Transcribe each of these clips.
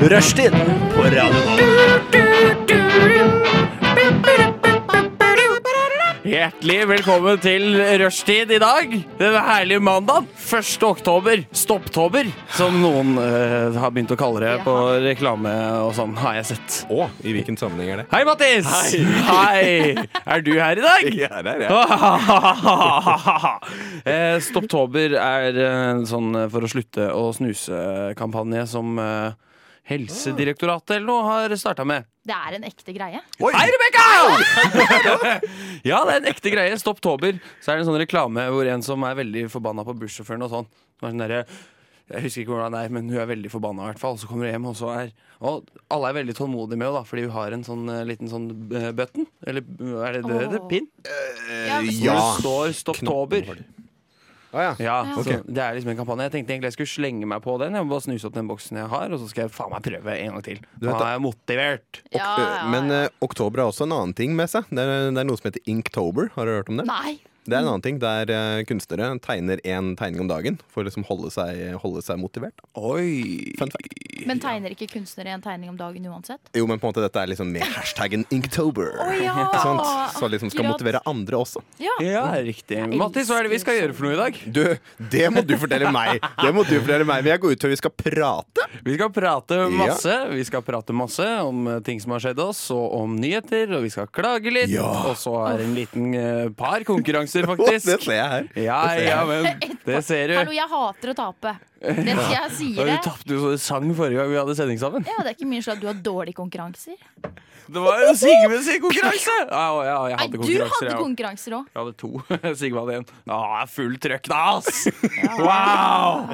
Rushtid på Radio Nova. Hjertelig velkommen til rushtid i dag. Denne herlige mandagen. 1. oktober. Stopptober, som noen eh, har begynt å kalle det på reklame og sånn, har jeg sett. Å, i hvilken sammenheng er det? Hei, Mattis! Hei! Er du her i dag? Ja, der, ja. Eh, Stopptober er eh, en sånn eh, for å slutte å snuse-kampanje som eh, Helsedirektoratet eller noe har starta med. Det er en ekte greie. Oi! Hei, Rebekka! ja, det er en ekte greie. Stopptober. Så er det en sånn reklame hvor en som er veldig forbanna på bussjåføren og sånn. Som er sånn derre, jeg husker ikke hvordan det er, men hun er veldig forbanna i hvert fall. Så kommer hun hjem, og så er Og alle er veldig tålmodige med henne, da, fordi hun har en sånn eh, liten sånn eh, button. Eller eh, er det det det heter? Åh. Pin? Eh, Ja, men- Ja. Hvor det står Stopptober. Å, ja. Ja, Ja. så Det er liksom en kampanje. Jeg tenkte egentlig jeg skulle slenge meg på den. Jeg må bare snuse opp den boksen jeg har, og så skal jeg faen meg prøve en gang til. vet Da da- er jeg motivert. Ok, Ja, ja, ja. Men eh, oktober har også en annen ting med seg. Det er, det er noe som heter Inktober. Har du hørt om det? Nei. Det er en annen ting der eh, kunstnere tegner én tegning om dagen for å liksom holde seg, holde seg motivert. da. Oi. Fun fact. Men tegner ikke kunstnere en tegning om dagen uansett? Jo, men på en måte dette er liksom med hashtaggen Inktober. ja. Ikke sant? Så liksom skal Akkurat. motivere andre også. Ja. Ja, riktig. Mattis, hva er det vi skal gjøre for noe i dag? Du, det må du fortelle meg! Det må du fortelle meg. Men jeg går ut før vi skal prate. Vi skal prate masse. Vi skal prate masse om eh, ting som har skjedd oss, og om nyheter, og vi skal klage litt. Ja. Og så er det en liten eh, par konkurranser, Å, det faktisk. ser jeg her. Ja, ja, men det ser Hallo, du. jeg hater å tape. Det skal jeg si Ja, det. Du tapte jo så du sang forrige gang vi hadde sending sammen. Ja, det er ikke min skyld at du har dårlige konkurranser. Det var jo Sigve sin konkurranse! Ja, ja, jeg Nei, hadde du konkurranser, hadde jeg òg. konkurranser òg. Jeg hadde to. Sigve hadde én. Ah, full trøkk da, ass! Wow!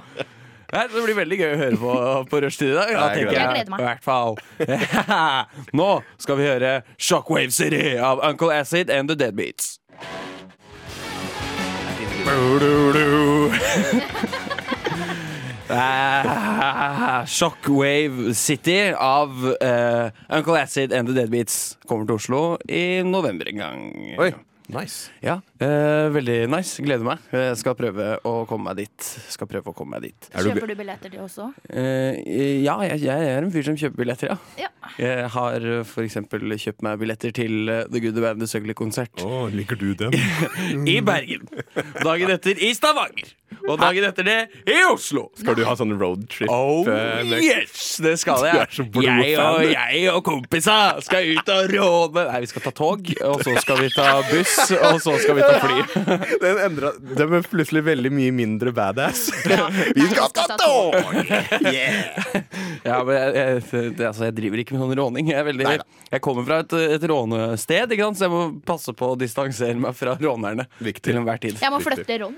Nei, Det blir veldig gøy å høre på på rushtid i dag. Nei, Da jeg tenker gleder jeg, meg. Jeg gleder meg. i hvert fall. Nå skal vi høre Shockwave City av Uncle Acid and The Deadbeats. Du-du-du. Eh, Shockwave City av eh, Uncle Acid and The Deadbeats kommer til Oslo i november en gang. Oi, nice. Ja, eh, veldig nice. Gleder meg. Jeg skal prøve å komme meg dit. Skal prøve å komme meg dit. Er du, Kjøper du billetter til også? Eh, ja, jeg, jeg er en fyr som kjøper billetter, ja. Ja. Jeg har eh, for eksempel kjøpt meg billetter til eh, The Good The Band The Søgli-konsert Å, liker du dem? i Bergen. Dagen etter i Stavanger. Og dagen etter det i Oslo. Skal du ha sånn roadtrip? Oh eh, med- yes, det skal jeg. Du er så blodfan. Jeg og, jeg og kompisa skal ut og råde. Nei, vi skal ta tog, og så skal vi ta buss, og så skal vi ta fly. Den endra Den ble plutselig veldig mye mindre badass. Vi skal ta tog! Yeah! Ja, men jeg, jeg, det, altså, jeg driver ikke med sånn råning. Jeg, er veldig, Neida. jeg kommer fra et, et rånested, ikke sant? så jeg må passe på å distansere meg fra rånerne Viktig. til enhver tid. Jeg må flytte Ron.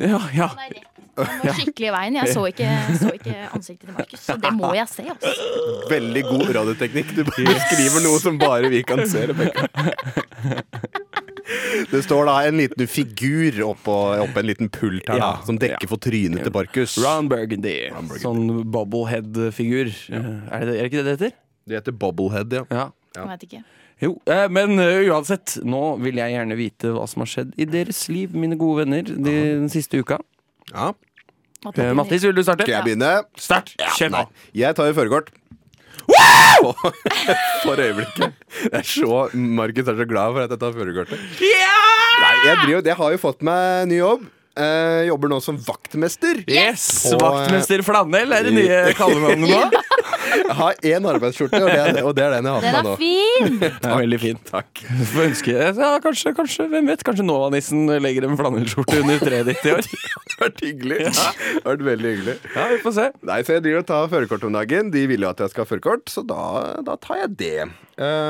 Ja, ja. Nei, rett. Jeg må skikkelig i veien. Jeg så ikke, så ikke ansiktet til Markus, så det må jeg se. Altså. Veldig god radioteknikk. Du bare skriver noe som bare vi kan se. Rebecca. Det står da en liten figur oppå, oppå en liten pult her, da, Ja, som dekker for trynet til Barkus. Ron Burgundy. Burgundy. Sånn bobblehead-figur. Eh, Er, det, er det ikke det det heter? Det heter Bobblehead, ja. Ja. Ja. Jeg vet ikke. Jo, eh, men eh, uansett, nå vil jeg gjerne vite hva som har skjedd i deres liv, mine gode venner, de, den siste uka. ja. Matte, Eh, Mattis, vil du starte? Skal jeg begynne? Start! Kjør på! Jeg tar jo førerkort. For- For øyeblikket. Det er så, Markus er så glad for at jeg tar førerkortet. Nei, jeg, driver, jeg har jo fått meg ny jobb. Eh, jobber nå som vaktmester. Yes! På, eh, Vaktmester Flanell er det nye kallenavnet nå. Jeg har én arbeidsskjorte, og det, er, og det er den jeg har på Den meg er nå. fin! Det er veldig fint. Takk. Får ønske ja, kanskje, kanskje, hvem vet, kanskje Nova-nissen legger en flanellskjorte under treet ditt i år. Det har vært hyggelig. Det har vært veldig hyggelig. Ja, vi får se. Nei, så jeg driver og tar førerkort om dagen. De vil jo at jeg skal ha førerkort, så da, da tar jeg det. Eh,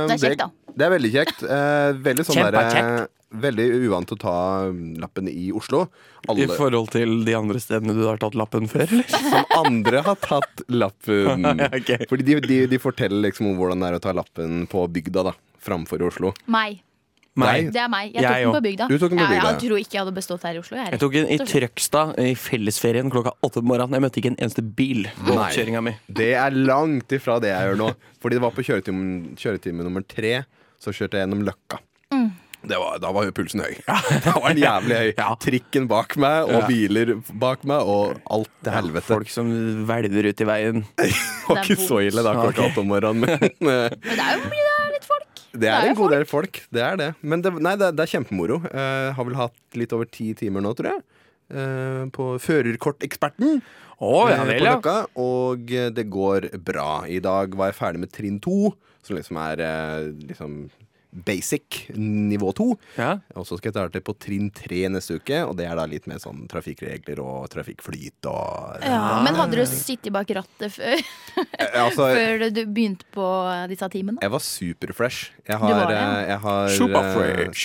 Det er kjekt, da. Det er veldig kjekt. Eh, veldig sånn Kjempe derre kjekt. Veldig uvant å ta mm, lappen i Oslo. I Alle forhold til de andre stedene du har tatt lappen før, eller? som andre har tatt lappen. ok. Fordi de, de, de forteller liksom om hvordan det er å ta lappen på bygda, da. Framfor i Oslo. Meg. Nei. Det er meg. Jeg tok Jeg den òg. på bygda. Du tok den på Ja, bygda, ja. jeg tror ikke jeg hadde bestått her i Oslo. Jeg, Jeg tok en i Rett og slett. Trøgstad i fellesferien klokka åtte på morgenen. Jeg møtte ikke en eneste bil på Nei. oppkjøringa mi. Det er langt ifra det jeg gjør nå. Fordi det var på kjøretime, kjøretime nummer tre, så kjørte jeg gjennom Løkka. Det var, da var jo pulsen høy. Da var den jævlig høy. Ja. Trikken bak meg, og Ja. biler bak meg, og alt til helvete. Folk som hvelver ut i veien. Det var ikke så ille da klokka åtte om morgenen, men eh, Men det er jo fordi det er litt folk. det er er jo en god del folk. Det er det. Men det, nei, det, er- det er kjempemoro. Eh, har vel hatt litt over ti timer nå, tror jeg. eh, på Førerkorteksperten. Å, ja eh, vel, på ja. løkka, og eh, det går bra. I dag var jeg ferdig med trinn to, som liksom er eh, liksom basic nivå to. ja. Og så skal jeg starte på trinn tre neste uke, og det er da litt mer sånn trafikkregler og trafikkflyt og Ja, men hadde du sittet bak rattet før, Eh, Altså, før du begynte på disse timene? jeg var superfresh. Jeg Du var har, det, ja. eh, jeg har eh, Superfresh.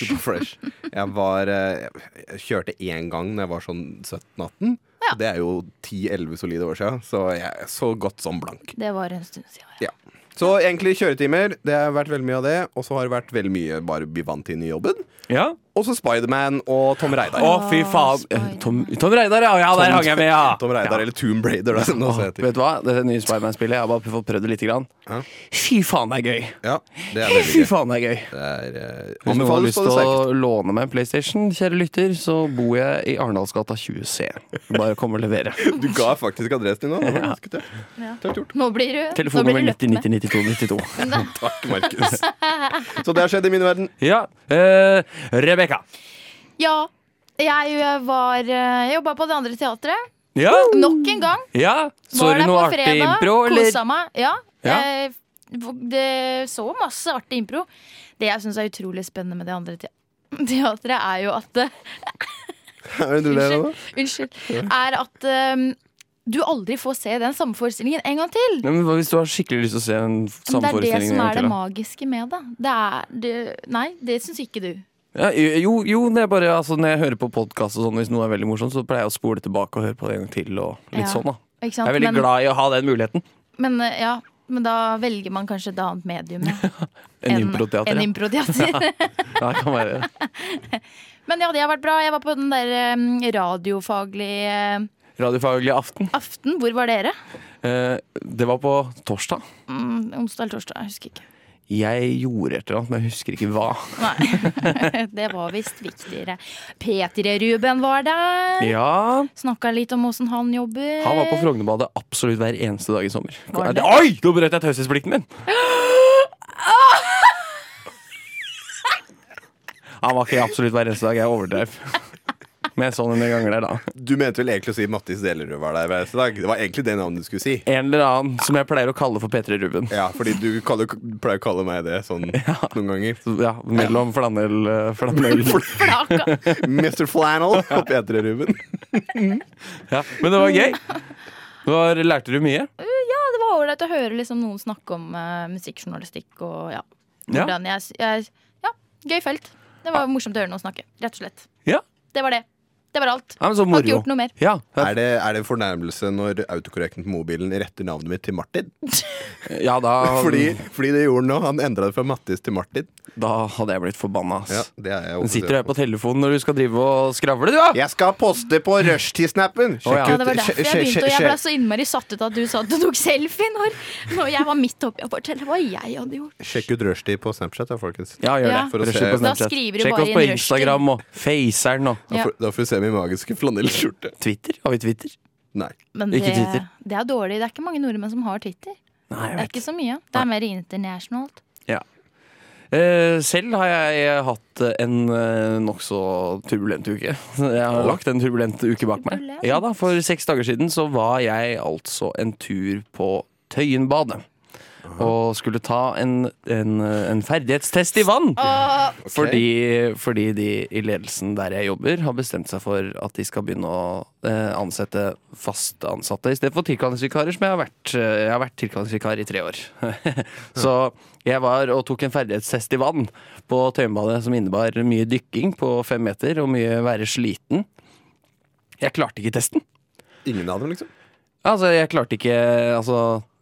superfresh. Jeg var eh, Jeg kjørte én gang Når jeg var sånn 17-18. Ja. Det er jo 10-11 solide år siden, så jeg er så godt som blank. Det var en stund siden. ja. Ja. Så egentlig kjøretimer. Det har vært veldig mye av det. Og så har det vært veldig mye bare bli vant til den nye jobben. ja. Og så Spiderman og Tom Reidar. Å, fy faen. Eh, Spider-Man. Tom, Tom Reidar, ja. ja der Tom- hang jeg med, ja. Tom Reidar liksom. ja. eller Tomb Raider, da, som det også heter. Vet du hva? Det nye Spiderman-spillet, jeg har bare fått prøvd det lite grann. Ja. Fy faen, det er gøy. Ja, det er Fy veldig gøy. faen, det er gøy. Det er, eh, Hvis noen har anbefales lyst på til det sterkeste. å låne meg en PlayStation, kjære lytter, så bor jeg i Arendalsgata 20C. Bare kom og levere. Du ga faktisk adressen din nå. Det var ganske tøft. Tøft gjort. Nå blir du nå blir Telefonnummer du løpt med. 90 90 92 92. Takk, Markus. Så det har skjedd i min verden. Ja. Eh, Rebekka. Ja. Jeg var eh, jobba på det andre teatret. Ja? Nok en gang. ja? Så Var du der noe på artig fredag, impro, eller? Kosa meg. Ja. Ja. Jeg v- det så masse artig impro. Det jeg syns er utrolig spennende med det andre te teatret, er jo at det- Er det du ler av nå? Unnskyld. unnskyld er at eh, du aldri får se den samme forestillingen en gang til. Ja, men hva hvis du har skikkelig lyst til å se en Men det er det samforestilling? som en gang er det til, da? magiske med det. det, er, det nei, det syns ikke du. Ja, jo, jo det er bare, altså, når jeg hører på podkast og sånn, hvis noe er veldig morsomt, så pleier jeg å spole tilbake og høre på det en gang til. Og litt Ja. sånn, da. Ikke sant? Jeg er veldig men, glad i å ha den muligheten. men, eh, ja, men da velger man kanskje et annet medium ja, En enn- improteater. enn Ja. improteater. Ja, det kan være det. men ja, det har vært bra. Jeg var på den der eh, radiofaglige eh, Radiofaglig aften. aften. Hvor var dere? Eh, det var på torsdag. Mm, onsdag eller torsdag? Jeg husker ikke. Jeg gjorde et eller annet, men jeg husker ikke hva. Nei, Det var visst viktigere. Peter Ruben var der. Ja, Snakka litt om åssen han jobber. Han var på Frognerbadet absolutt hver eneste dag i sommer. Var det? Oi! Nå brøt jeg taushetsplikten min! Han var ikke absolutt hver eneste dag. Jeg overdrev. Men jeg så den en ganger der, da. Du mente vel egentlig å si Mattis Delerud var der hver eneste dag? Det var egentlig det navnet du skulle si. En eller annen som jeg pleier å kalle for P3 Ruben. Ja, fordi du kaller, pleier å kalle meg det sånn noen ganger. Så, Ja, mellom flanell, eh, flanell. Flaka. Mr. Flannel og Peter Ruben. Ja, Men det var gøy. Det var, lærte du mye? Ja, det var ålreit å høre liksom noen snakke om eh, musikkjournalistikk og ja. Ja. Hvordan jeg, s- jeg Ja, gøy felt. Det var morsomt å høre noen snakke, rett og slett. Ja, Det var det. Det var alt. ja men så Har ikke moro. gjort noe mer. Ja, Er det, er det en fornærmelse når autokorrekten på mobilen retter navnet mitt til Martin? ja da, Fordi, fordi det gjorde han nå. Han endra det fra Mattis til Martin. da hadde jeg blitt forbanna. ass. Ja, det er jeg Men offisiell sitter du her på telefonen når du skal drive og skravle, du, da? Jeg skal poste på rushtid-snappen! Å, ja. Ja, det var derfor jeg begynte, og jeg ble så innmari satt ut av at du sa at du tok selfie når, når jeg var midt oppi og fortalte hva jeg hadde gjort. Sjekk ut rushtid på Snapchat, da, folkens. Ja, gjør Ja. det. For å Rusher se- på Da Snapchat. skriver du Sjekk bare oss inn på rushtid. Instagram og Faceren og Da Ja. får, da får du se min magiske flanellskjorte. Twitter. Har vi Twitter? Nei. Men det, Ikke Twitter. det er dårlig. Det er ikke mange nordmenn som har Twitter. Nei, jeg Det er vet ikke så mye. Det er mer internasjonalt. ja. Eh, Selv har jeg hatt en eh, nokså turbulent uke. Jeg har lagt en turbulent uke bak meg. Turbulent. Ja da, For seks dager siden så var jeg altså en tur på Tøyenbadet. Og skulle ta en, en, eh, en ferdighetstest i vann. Ok. Fordi, fordi de i ledelsen der jeg jobber, har bestemt seg for at de skal begynne å eh, ansette fast ansatte istedenfor tilkallingsvikarer, som jeg har vært. eh, Jeg har vært tilkallingsvikar i tre år. Så jeg var og tok en ferdighetstest i vann på Tøyenbadet, som innebar mye dykking på fem meter og mye være sliten. Jeg klarte ikke testen. Ingen av dem, liksom? Altså, jeg klarte ikke Altså,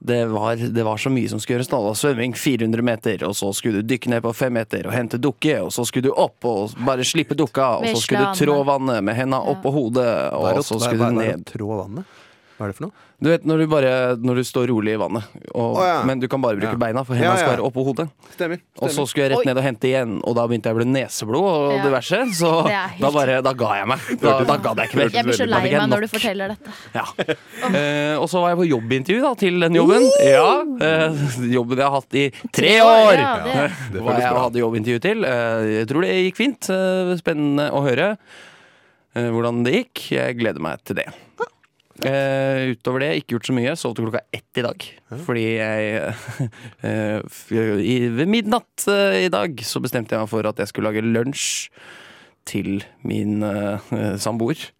det var, det var så mye som skulle gjøres. da. Det var svømming 400 meter, og så skulle du dykke ned på 5 meter og hente dukke, og så skulle du opp og bare slippe dukka, og så Vesle skulle du trå Anne. vannet med henda opp på hodet, og så skulle du ned. trå vannet? Hva er det for noe? Du vet når du, bare, når du står rolig i vannet, og, Å, ja. men du kan bare bruke Ja. beina, for hendene Ja, ja. skal være oppå hodet. Stemmer. Og så skulle jeg rett Oi. ned og hente igjen, og da begynte jeg å bli neseblod og Ja. diverse. Så Det er helt- da bare, da ga jeg meg. Da, da ga jeg ikke mer. Jeg blir så Da lei fikk jeg meg nok. når du forteller dette. Ja. Eh, og så var jeg på jobbintervju da, til den jobben. Ja, eh, Jobben jeg har hatt i tre år! Ja, det. Det Hva føles jeg bra. hadde jobbintervju til. Eh, jeg tror det gikk fint. Eh, spennende å høre eh, hvordan det gikk. Jeg gleder meg til det. Eh, utover det, ikke gjort så mye. Sov til klokka ett i dag. Fordi jeg eh, f- i, Ved midnatt eh, i dag så bestemte jeg meg for at jeg skulle lage lunsj til min eh, samboer.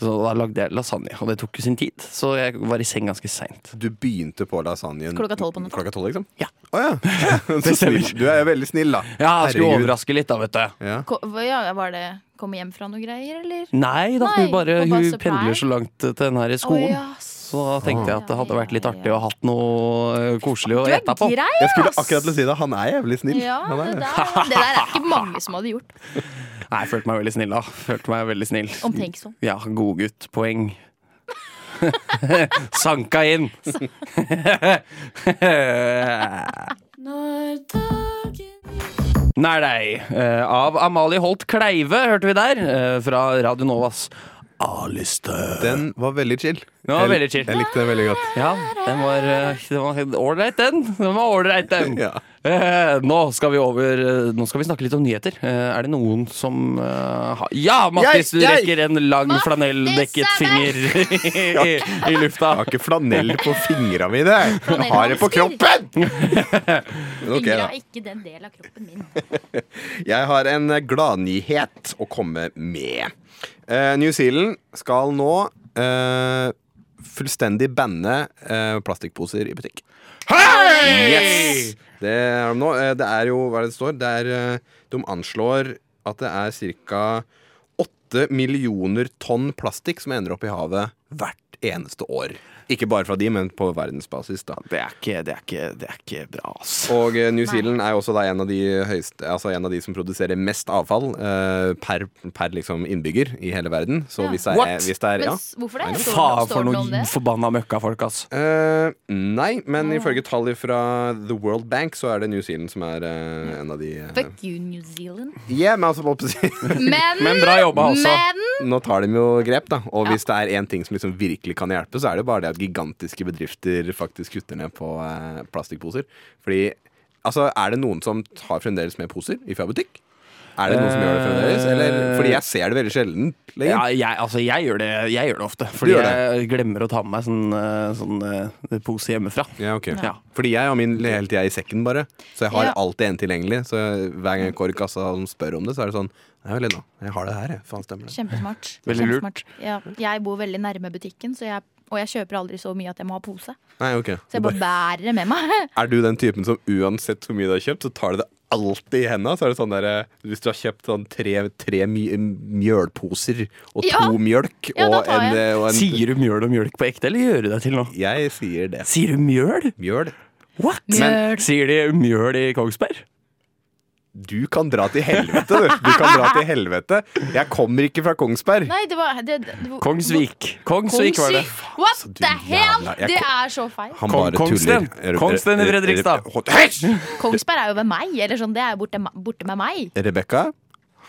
Så da lagde jeg lasagne, og det tok jo sin tid. Så jeg var i seng ganske seint. Du begynte på lasagnen Klokka tolv på natta. Klokka tolv, liksom? Ja. Å ja. Så stemmer. snill. Du er jo veldig snill, da. Ja, jeg skulle Herregud. overraske litt, da, vet du. Ja. Ko- hva- Ja, var det komme hjem fra noe greier, eller? Nei da, Nei, hun, bare, og bare hun surprise. pendler så langt til den her skolen. Å, ja, s- Så da tenkte jeg at det hadde vært litt Ja, ja, artig ja. å ha hatt noe eh, koselig å Du er ete på. grei, Jeg skulle ass! akkurat til å si det. Han er jævlig snill. Ja, Han er det det. der, det der er ikke mange som hadde gjort. Nei, jeg følte meg veldig snill da. Følte meg veldig snill. Omtenksom. Ja, god gutt. Poeng. Sanka inn! Når dagen Nei, nei. Eh, av Amalie Holt Kleive, hørte vi der. eh, fra Radio Novas A-liste. Den var veldig chill. Den var Jeg- veldig chill. Jeg likte den veldig godt. Ja, den var eh, den var helt ålreit, den. Den var ålreit, den. Ja. Eh, nå, skal vi over, eh, nå skal vi snakke litt om nyheter. Eh, er det noen som eh, har Ja, Mattis! Du Jeg- jeg- rekker en lang Mattis flanelldekket er finger i, i lufta. Jeg har ikke flanell på fingra mine. Jeg har det på kroppen! Ok, Fingra da. er ikke den delen av kroppen min. Jeg har en gladnyhet å komme med. Eh, New Zealand skal nå eh, fullstendig banne eh, plastikkposer i butikk. Yes! Det er de nå. Eh, Det er jo hva er det det står? Det er, eh, de anslår at det er ca. 8 millioner tonn plastikk som ender opp i havet hvert eneste år. Ikke bare fra de, men på verdensbasis. da Det er ikke, det er ikke, det er ikke bra, ass. og eh, New Zealand er jo også da en av de, høyeste, altså en av de som produserer mest avfall eh, per, per liksom innbygger i hele verden. Så Ja. hvis det What? er, hvis det er Men ja. s- hvorfor det? Står Faen står for det noe om noen det? forbanna møkkafolk, ass. Eh, nei, men ifølge tall fra The World Bank så er det New Zealand som er eh, en av de eh, Fuck you, New Zealand. Ja, men altså, hva på å si. Men, Men bra jobba altså. også. men Nå tar de jo grep, da. Og hvis det er én ting som liksom virkelig kan hjelpe, så er det jo bare det at gigantiske bedrifter faktisk kutter ned på eh, plastikkposer. Fordi altså, er det noen som tar fremdeles med poser i fra butikk? Er det noen som gjør det fremdeles? Eller, fordi jeg ser det veldig sjelden lenger. Ja, jeg, altså, jeg, gjør det, jeg gjør det ofte, fordi gjør jeg glemmer å ta med meg sånn, eh, sånn eh, pose hjemmefra. Ja, ok. Ja. Fordi jeg har min hele tida i sekken, bare. Så jeg har Ja. alltid en tilgjengelig. Så hver gang jeg går i kassa og de spør om det, så er det sånn Nei, vel, nå. Jeg har det her, jeg. Faen, stemmer det. Kjempesmart. Veldig lurt. Kjempesmart. Ja, jeg bor veldig nærme butikken, så jeg, og jeg kjøper aldri så mye at jeg må ha pose. Nei, ok. Så jeg bare bærer det med meg. Er du den typen som uansett hvor mye du har kjøpt, så tar du det alltid i henda? Så er det sånn der, eh, Hvis du har kjøpt sånn tre, tre mj mjølposer og to Ja. mjølk Ja, da og, tar en, jeg. eh, og en Sier du mjøl og mjølk på ekte, eller gjør du deg til nå? Jeg sier det. Sier du mjøl? Mjøl. What? Mjøl. Sier de mjøl i Kongsberg? Du kan dra til helvete, du. Du kan dra til helvete. Jeg kommer ikke fra Kongsberg. Nei, det var det, det, det- Kongsvik. Kongsvik var det. What du the hell? jævla- jeg Det ko- er så feil. Han Kong- Kongsten. tuller. Re- Kongsten re- i re- Fredrikstad. Hot- Hysj! Kongsberg er jo ved meg. Eller sånn, det er jo borte, borte med meg. Rebekka,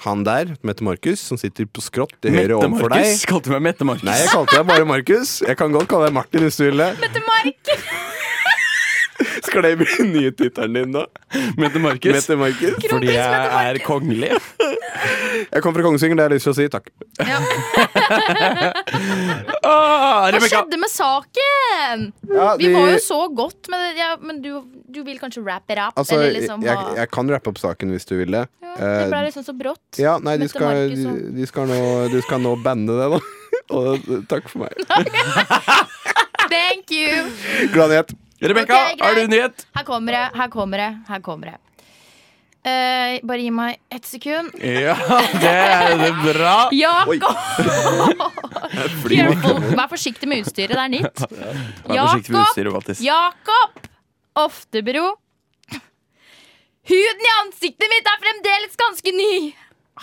han der, som heter Markus, som sitter på skrått til høyre Mette overfor deg. Markus. Kalte du meg Mette Markus? Nei, jeg kalte deg bare Markus. Jeg kan godt kalle deg Martin hvis du vil det. Mette Mark! Skal det bli den nye tittelen din nå? Mette Markus. Mette Markus. Fordi jeg er kongelig. Jeg kommer fra Kongsvinger, det har jeg lyst til å si. Takk. Ah, Hva Rebecca. skjedde med saken? Ja, Vi de- var jo så godt, men, det- ja, men du, du vil kanskje wrap it up? Altså, eller jeg, liksom jeg, ha- jeg kan rappe opp saken hvis du vil det. ja, Eh, det ble liksom så brått. ja, nei, de Mette skal, Markus og- de skal nå, de skal nå banne det, da. Og eh, takk for meg. Thank you! Gladnyhet. Rebecca, Ok, greit. har du nyhet? Her kommer det, her kommer det, her kommer det. Eh, bare gi meg ett sekund. Ja, Ah, det er det bra. Ja, Oi. Careful. Vær forsiktig med utstyret, det er nytt. Vær forsiktig med Jakob. utstyret, Mattis. Jakob Oftebro. Huden i ansiktet mitt er fremdeles ganske ny.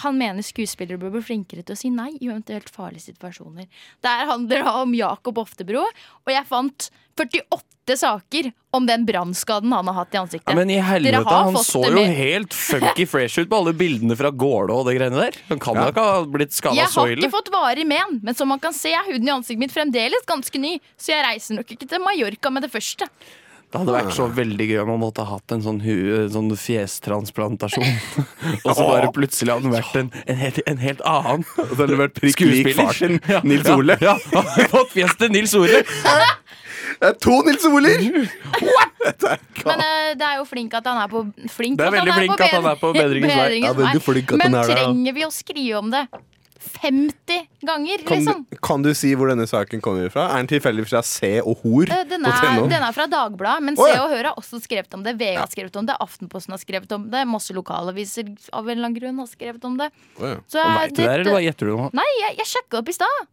han mener skuespillere bør bli flinkere til å si nei i eventuelt farlige situasjoner. Der handler det om Jakob Oftebro, og jeg fant 48 saker om den brannskaden han har hatt i ansiktet. Ja, men i helvete, Dere har han fått så det jo med. helt funky fresh ut på alle bildene fra Gålå og det greiene der. Han kan jo ikke ha blitt skada Jeg så har ille. ikke fått varig men, men som man kan se er huden i ansiktet mitt fremdeles ganske ny, så jeg reiser nok ikke til Mallorca med det første. Det hadde vært så veldig gøy om han måtte ha hatt en sånn, hu, en sånn fjestransplantasjon. og så bare plutselig hadde han vært en, en, helt, en helt annen Og så hadde det vært prikk lik far sin, Ja, Nils ja, Ole. Ja, han hadde fått fjeset til Nils Ole. Det er to Nils Oler! Dette er galt. Men eh, det er jo flink at han er på flink Det er at han veldig flink at han er på bedringens vei. Ja, veldig flink at Men han er der, ja. trenger vi å skrive om det 50 ganger, Kan, liksom? du, kan du si hvor denne saken kommer fra? Er den tilfeldig fra Se og Hor? Eh, Den er, .no? den er fra Dagbladet, men Å, ja. Se og Hør har også skrevet om det. VG har skrevet om det, Aftenposten har skrevet om det, masse lokalaviser av en eller annen grunn har skrevet om det. Å, ja. Så Og eh, vet du det, dette- eller bare gjetter du nå? Nei, jeg, jeg sjekka opp i stad.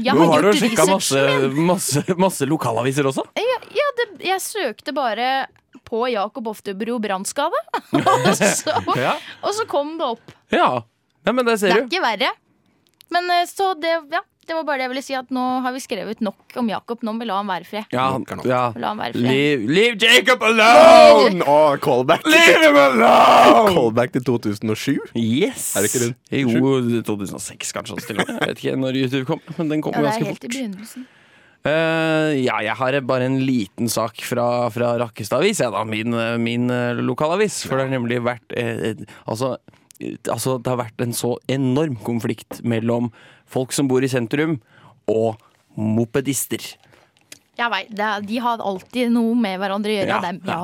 Jeg Nå har du gjort sjekka researchen masse, min. Eh? masse, masse lokalaviser også. Ja, det, jeg søkte bare på Jakob Oftebro brannskade, og, så- Ja. og så kom det opp. ja. Nei, men Det det er ser du. ikke verre. Men eh, så det, ja, det var bare det jeg ville si, at nå har vi skrevet nok om Jakob. Nå må vi la han være i fred. Ja, ja. La han være i fred. Leave, leave Jacob alone! Å, callback. Leave him alone! Callback til 2007. Yes! Er det ikke rundt Jo, 2006 kanskje. også Til og med. Jeg vet ikke når YouTube kom, men den kom Ja, jo det ganske er helt fort. i begynnelsen. Eh, ja, jeg har bare en liten sak fra, fra Rakkestad Avis, jeg da. Min, eh, min eh, lokalavis. For det har nemlig vært eh, eh, altså, eh, altså, det har vært en så enorm konflikt mellom folk som bor i sentrum, og mopedister. Jeg vet, det, er- de har alltid noe med hverandre å gjøre. Ja, Ja, dem, ja.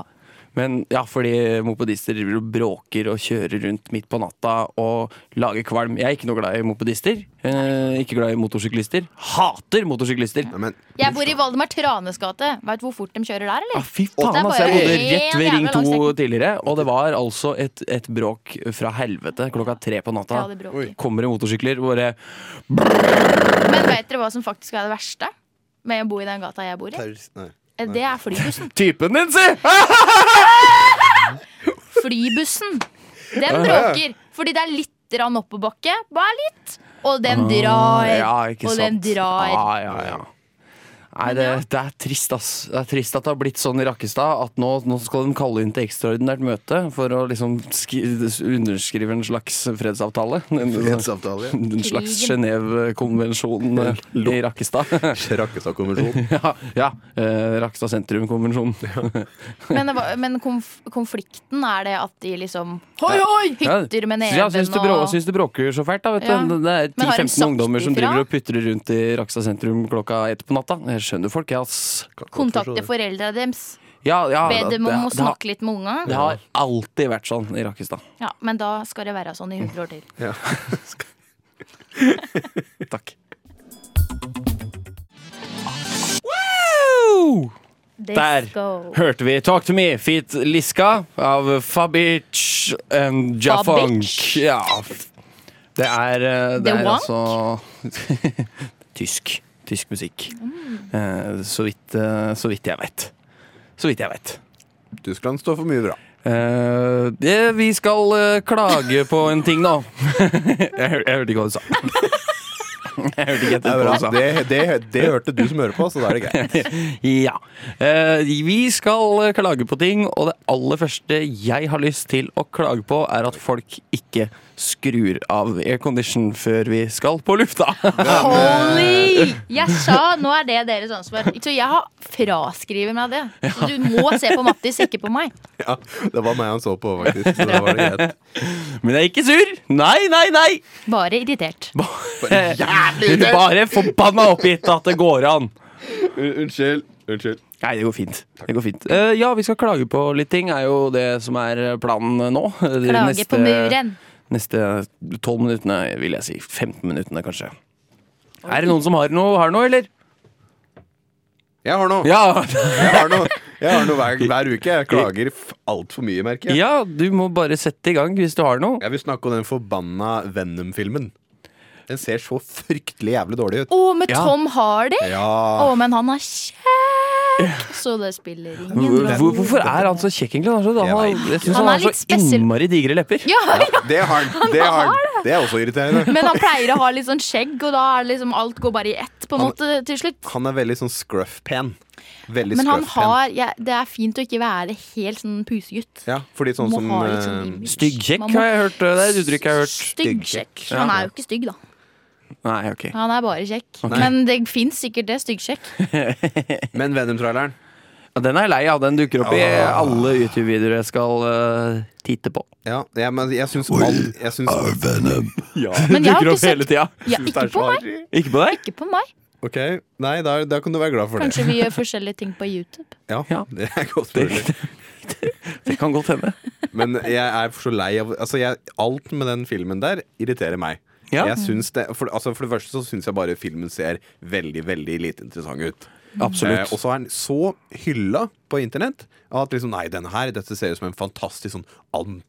Men ja, fordi mopedister driver og bråker og kjører rundt midt på natta og lager kvalm. Jeg er ikke noe glad i mopedister. Eh, ikke glad i motorsyklister. Hater motorsyklister! Nei, men Jeg bor i Valdemar Tranes gate. Veit du hvor fort de kjører der, Ah, eller? fy Det faen, er altså, jeg bare bodde en rett ved Ring jævla 2 langstrekning. tidligere, og det var altså et, et bråk fra helvete klokka tre på natta. Ja, det bråker. Oi. Kommer det motorsykler og bare Men vet dere hva som faktisk er det verste med å bo i den gata jeg bor i? Eh, Nei. Det er flybussen. Typen din, si! Flybussen! Den bråker. Fordi det er litt rann oppoverbakke. Bare litt. Og den drar. Ah, Ja, ikke og den sant. Ah. drar. Ja, ja, ja. Nei, det, det er trist, ass. Det er trist at det har blitt sånn i Rakkestad at nå, nå skal de kalle inn til ekstraordinært møte for å liksom skri, underskrive en slags fredsavtale. En, sånn Fredsavtale. en slags Genéve-konvensjon eh, i Rakkestad. Rakkestad-konvensjon. ja, ja. Eh, Rakkestad sentrum-konvensjonen. Men, det var, men konf konflikten er det at de liksom Hoi, hoi! Ja, Hytter med så ja, syns neven du brå- og Syns du bråker så fælt, da. Vet Ja. du. Det er Men har de 10-15 ungdommer som sagt ifra? driver og putrer rundt i Rakkestad sentrum klokka ett på natta. Jeg skjønner folk, jeg, ass. kontakte foreldra deres. Ja, ja, Be det- dem om å det har- snakke litt med unga. Det har alltid vært sånn i Rakkestad. Ja, men da skal det være sånn i 100 år til. Ja. Takk. Wow! Der go. hørte vi 'Talk to me, Feet Liska' av Fabic and Jafunk. Fabic? Ja. Det er, eh, det The er Wank? altså tysk. Tysk musikk. Eh, Så vidt, eh, så vidt jeg vet. Så vidt jeg vet. Tyskland står for mye bra. Eh, det, vi skal eh, klage på en ting nå. jeg, hør, jeg hørte ikke hva du sa. jeg hørte ikke Det, etter hva du sa. Altså, det, det, det hørte du som hører på, så da er det greit. Ja. Eh, vi skal eh, klage på ting, og det aller første jeg har lyst til å klage på, er at folk ikke skrur av aircondition før vi skal på lufta. Holy! Jeg sa nå er det deres ansvar. Så jeg har fraskriver meg det. Så du må se på Mattis, ikke på meg. Ja, det var meg han så på, faktisk. Så da var det greit. Men jeg er ikke sur. Nei, nei, nei. Bare irritert. Bare forbanna oppgitt at det går an. Unnskyld. Unnskyld. Nei, det går fint. Det går fint. Eh, ja, vi skal klage på litt ting, er jo det som er planen nå. De Klage neste- på muren. Neste tolv minuttene, vil jeg si. 15 minuttene, kanskje. Er det noen som har noe, har noe eller? Jeg har noe. Ja. Jeg har noe, jeg har noe hver, hver uke. Jeg klager altfor mye, merker jeg. ja, du må bare sette i gang hvis du har noe. Jeg vil snakke om den forbanna Venom-filmen. Den ser så fryktelig jævlig dårlig ut. Å, med Ja. Tom Hardy! Å, Ja, men han er kjekk! Så det spiller ingen Hvor, rolle. hvor- hvorfor er han så kjekk, egentlig? Han, har så- han, har- Jeg vet ikke. jeg syns Han han er har litt så spesiell. innmari digre lepper. Ja, ja. det har den. Det har den. Det er også irriterende. Men han pleier å ha litt sånn skjegg, og da er det liksom alt går bare i ett på en Han- måte til slutt. Han er veldig sånn scruff-pen. Veldig Men han scruff-pen. har ja, Det er fint å ikke være helt sånn pusegutt. Ja, fordi sånn Må som ha litt sånn eh, image. Styggkjekk Man må- har jeg hørt. Det er et uttrykk jeg har hørt. Styggkjekk. Ja. Han er jo ikke stygg, da. Nei, ok. Han er bare kjekk. Ok. Men det fins sikkert det. Styggkjekk. Men Venom-traileren Ja, Den er jeg lei av. Den dukker opp i Ah. alle YouTube-videoer jeg skal eh, titte på. ja, jeg, men jeg syns all- jeg syns- Men jeg har dukker ikke opp sett- hele tida. Ja, ikke på meg. Ikke på deg? Ikke på meg. Ok, nei, da, da kan du være glad for det. Kanskje vi gjør forskjellige ting på YouTube. Ja, Ja. det er godt Det, mulig. det, det kan godt hende. Men jeg er så lei av altså jeg, Alt med den filmen der irriterer meg. Ja, Jeg syns det, for, altså for det første så syns jeg bare filmen ser veldig veldig lite interessant ut. Eh, absolutt. og så er den så hylla på internett at liksom, nei, denne her, dette ser ut som en fantastisk sånn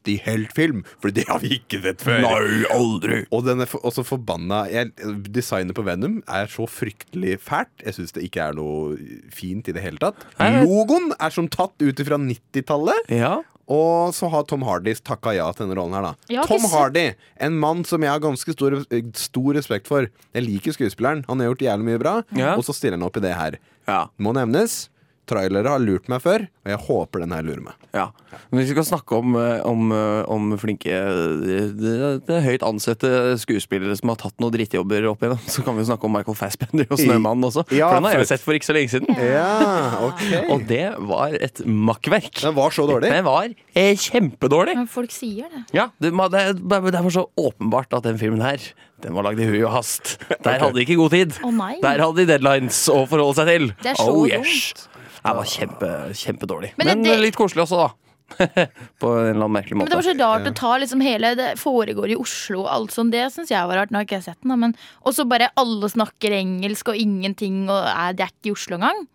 antiheltfilm. For det har vi ikke sett før. aldri. Og den er for, også forbanna jeg, Designet på Venom er så fryktelig fælt. Jeg syns det ikke er noe fint i det hele tatt. Nei. Logoen er som tatt ut fra 90-tallet. Ja. Og så har Tom Hardy takka ja til denne rollen her, Jeg da. har Tom ikke sett- Hardy, en mann som jeg har ganske stor, eh, stor respekt for. Jeg liker skuespilleren, han har gjort jævlig mye bra, Ja. og så stiller han opp i det her. ja. Må nevnes. Trailere har lurt meg før, og jeg håper den her lurer meg. Ja. Men hvis vi skal snakke om, eh, om, eh, om flinke eh, det, det er høyt ansette skuespillere som har tatt noen drittjobber opp igjennom, så kan vi jo snakke om Michael Fassbender og Snømannen også. Ja, for den har jeg absolutt. jo sett for ikke så lenge siden. Ah. Ja, ok Og det var et makkverk. Den var så dårlig. Den var eh, kjempedårlig. Men folk sier det. Ja, det, ma- det, det er bare så åpenbart at den filmen her Den var lagd i hui og hast. Der hadde de ikke god tid. Å nei. Der hadde de deadlines å forholde seg til. Det er så oh, dumt. Den var kjempe, kjempedårlig. Men Men, eh, det- det- litt koselig også, da. På en eller annen merkelig Men det var måte. så rart å ta liksom hele Det foregår i Oslo og alt sånt. Det syns jeg var rart. Nå har ikke jeg sett den, da, men Og så bare alle snakker engelsk og ingenting, og eh, det er ikke i Oslo engang.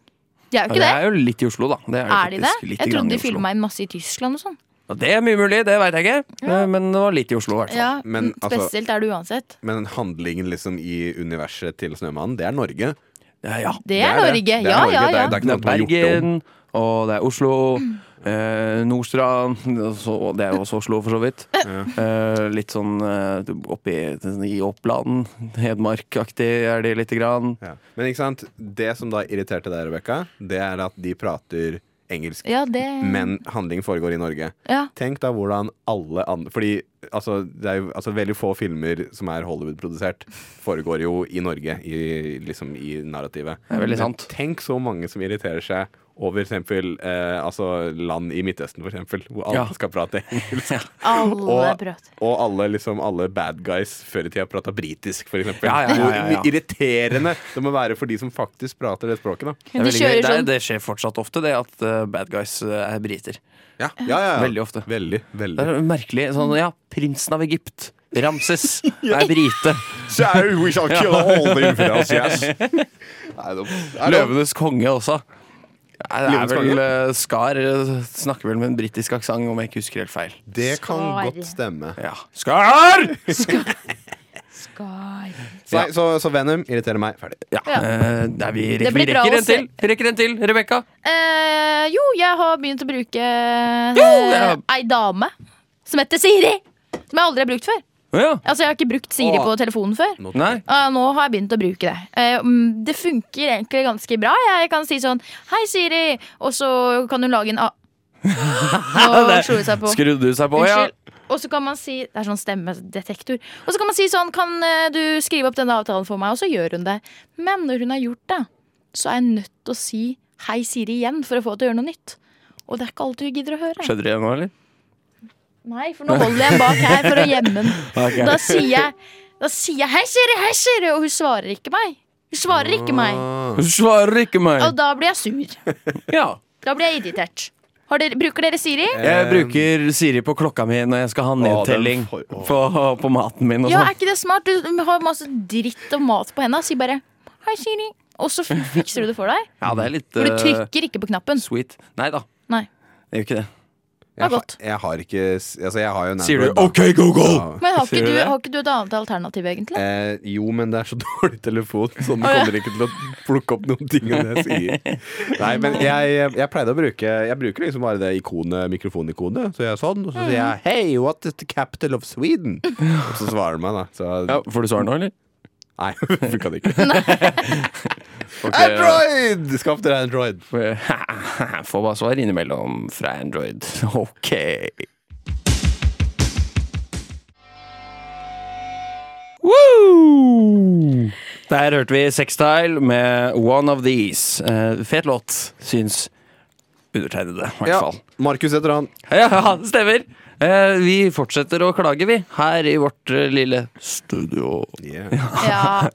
Det er jo Ja, ikke det det. er jo litt i Oslo, da. Det er, Er de det? faktisk litt Jeg grann trodde i de Oslo. filma inn masse i Tyskland og sånn. Ja, Det er mye mulig, det veit jeg ikke. Eh, Men det var litt i Oslo, i hvert fall. Ja, Men, mm, altså- Spesielt er det uansett. Men handlingen liksom i universet til Snømannen, det er Norge. Ja, ja. Det er det. Norge. Det er Ja, Norge. ja, Det er- ja. det er ikke Det noe er som har gjort det om. Bergen, og det er Oslo. Eh, Nordstrand og så, og Det er jo også Oslo, for så vidt. Eh, litt sånn eh, oppi i Oppland. Hedmarkaktig er de lite grann. Ja. Men ikke sant, det som da irriterte deg, Rebekka, det er at de prater engelsk, Ja, det men handlingen foregår i Norge. Ja. Tenk da hvordan alle andre Fordi altså, det er jo altså, veldig få filmer som er Hollywood-produsert, foregår jo i Norge, i, liksom i narrativet. Det er veldig Men sant. Tenk så mange som irriterer seg over for eksempel, eh, altså, land i Midtøsten, for eksempel, hvor alle Ja. skal prate engelsk. Alle Og- prøvde. Og alle, liksom, alle bad guys før i tida prata britisk, for eksempel. Ja, ja, ja, ja, ja. Hvor irriterende det må være for de som faktisk prater det språket. Da. Men de Det er veldig gøy. kjører det, er- sånn det skjer fortsatt ofte, det at eh, bad guys eh, er briter. Ja. Ja, ja, Veldig ofte. Veldig, Det veldig. er merkelig. Sånn, ja, prinsen av Egypt. Ramses er brite. So we shall kill all the infidels, yes. Nei, det er lov. Løvenes konge også. Nei, Det er Løvenes vel konge? eh, Skar eh, snakker vel med en britisk aksent, om jeg ikke husker helt feil. Det kan Svar. godt stemme. Ja. Skar! Skar. Så, nei, så, så Venom irriterer meg. Ferdig. Ja. Ja. eh, nei, vi, Det rekker, vi blir bra rekker å en til. Vi rekker en til, Rebekka. Eh, jo, jeg har begynt å bruke ja. eh, ei dame som heter Siri. Som jeg aldri har brukt før. Å ja. Altså, Jeg har ikke brukt Siri Åh. på telefonen før. Nå- Nei. Ah, nå har jeg begynt å bruke det. Eh, mm, det funker egentlig ganske bra. Jeg kan si sånn 'Hei, Siri', og så kan hun lage en A... Nå slo det seg på. Skrudde du seg på, ja? Unnskyld. Og så kan man si Det er sånn stemmedetektor. Og så kan man si sånn Kan eh, du skrive opp denne avtalen for meg? Og så gjør hun det. Men når hun har gjort det, så er jeg nødt til å si hei, Siri, igjen for å få det til å gjøre noe nytt. Og det er ikke alt hun gidder å høre. Skjedde det nå, eller? Nei, for nå holder jeg en bak her for å gjemme den. Da sier jeg, da sier jeg 'hei, Siri, hei, Siri', og hun svarer ikke meg. Hun svarer ikke meg. Ah. Hun svarer ikke meg. Og da blir jeg sur. Ja. Da blir jeg irritert. Har dere, bruker dere Siri? Jeg bruker Siri på klokka mi når jeg skal ha nedtelling for- Eh, å. på, på maten min. Og Ja, sånn. er ikke det smart? Du har masse dritt og mat på henda. Si bare 'hei, Siri', og så f- fikser du det for deg. ja, det er litt For du eh, trykker ikke på knappen. sweet. Nei da, Nei. det gjør ikke det. var Jeg, godt. har- Eh, jeg har ikke Altså, jeg har jo en Sier du Android, da. 'OK, Google'? Ja. Men har Sier ikke, du du, det? har ikke du et annet alternativ, egentlig? Eh, jo, men det er så dårlig telefon, så den Å, ja. kommer ikke til å plukke opp noen ting av det jeg sier. Nei, men jeg, jeg pleide å bruke Jeg bruker liksom bare det ikonet, mikrofonikonet. Så gjør jeg sånn, og så sier jeg 'Hey, what is the capital of Sweden?' Og så svarer den meg, da. Så Ja, får du svar nå, eller? nei, funka det ikke. Ok, Android! Skaff dere Android. ja. Får bare svar innimellom fra Android. OK. Woo! Der hørte vi Sextile med 'One of These'. Eh, fet låt, syns undertegnede, i hvert Ja, fall. Markus heter han. Ja, det stemmer. Eh, vi fortsetter å klage, vi, her i vårt eh, lille studio. Ja.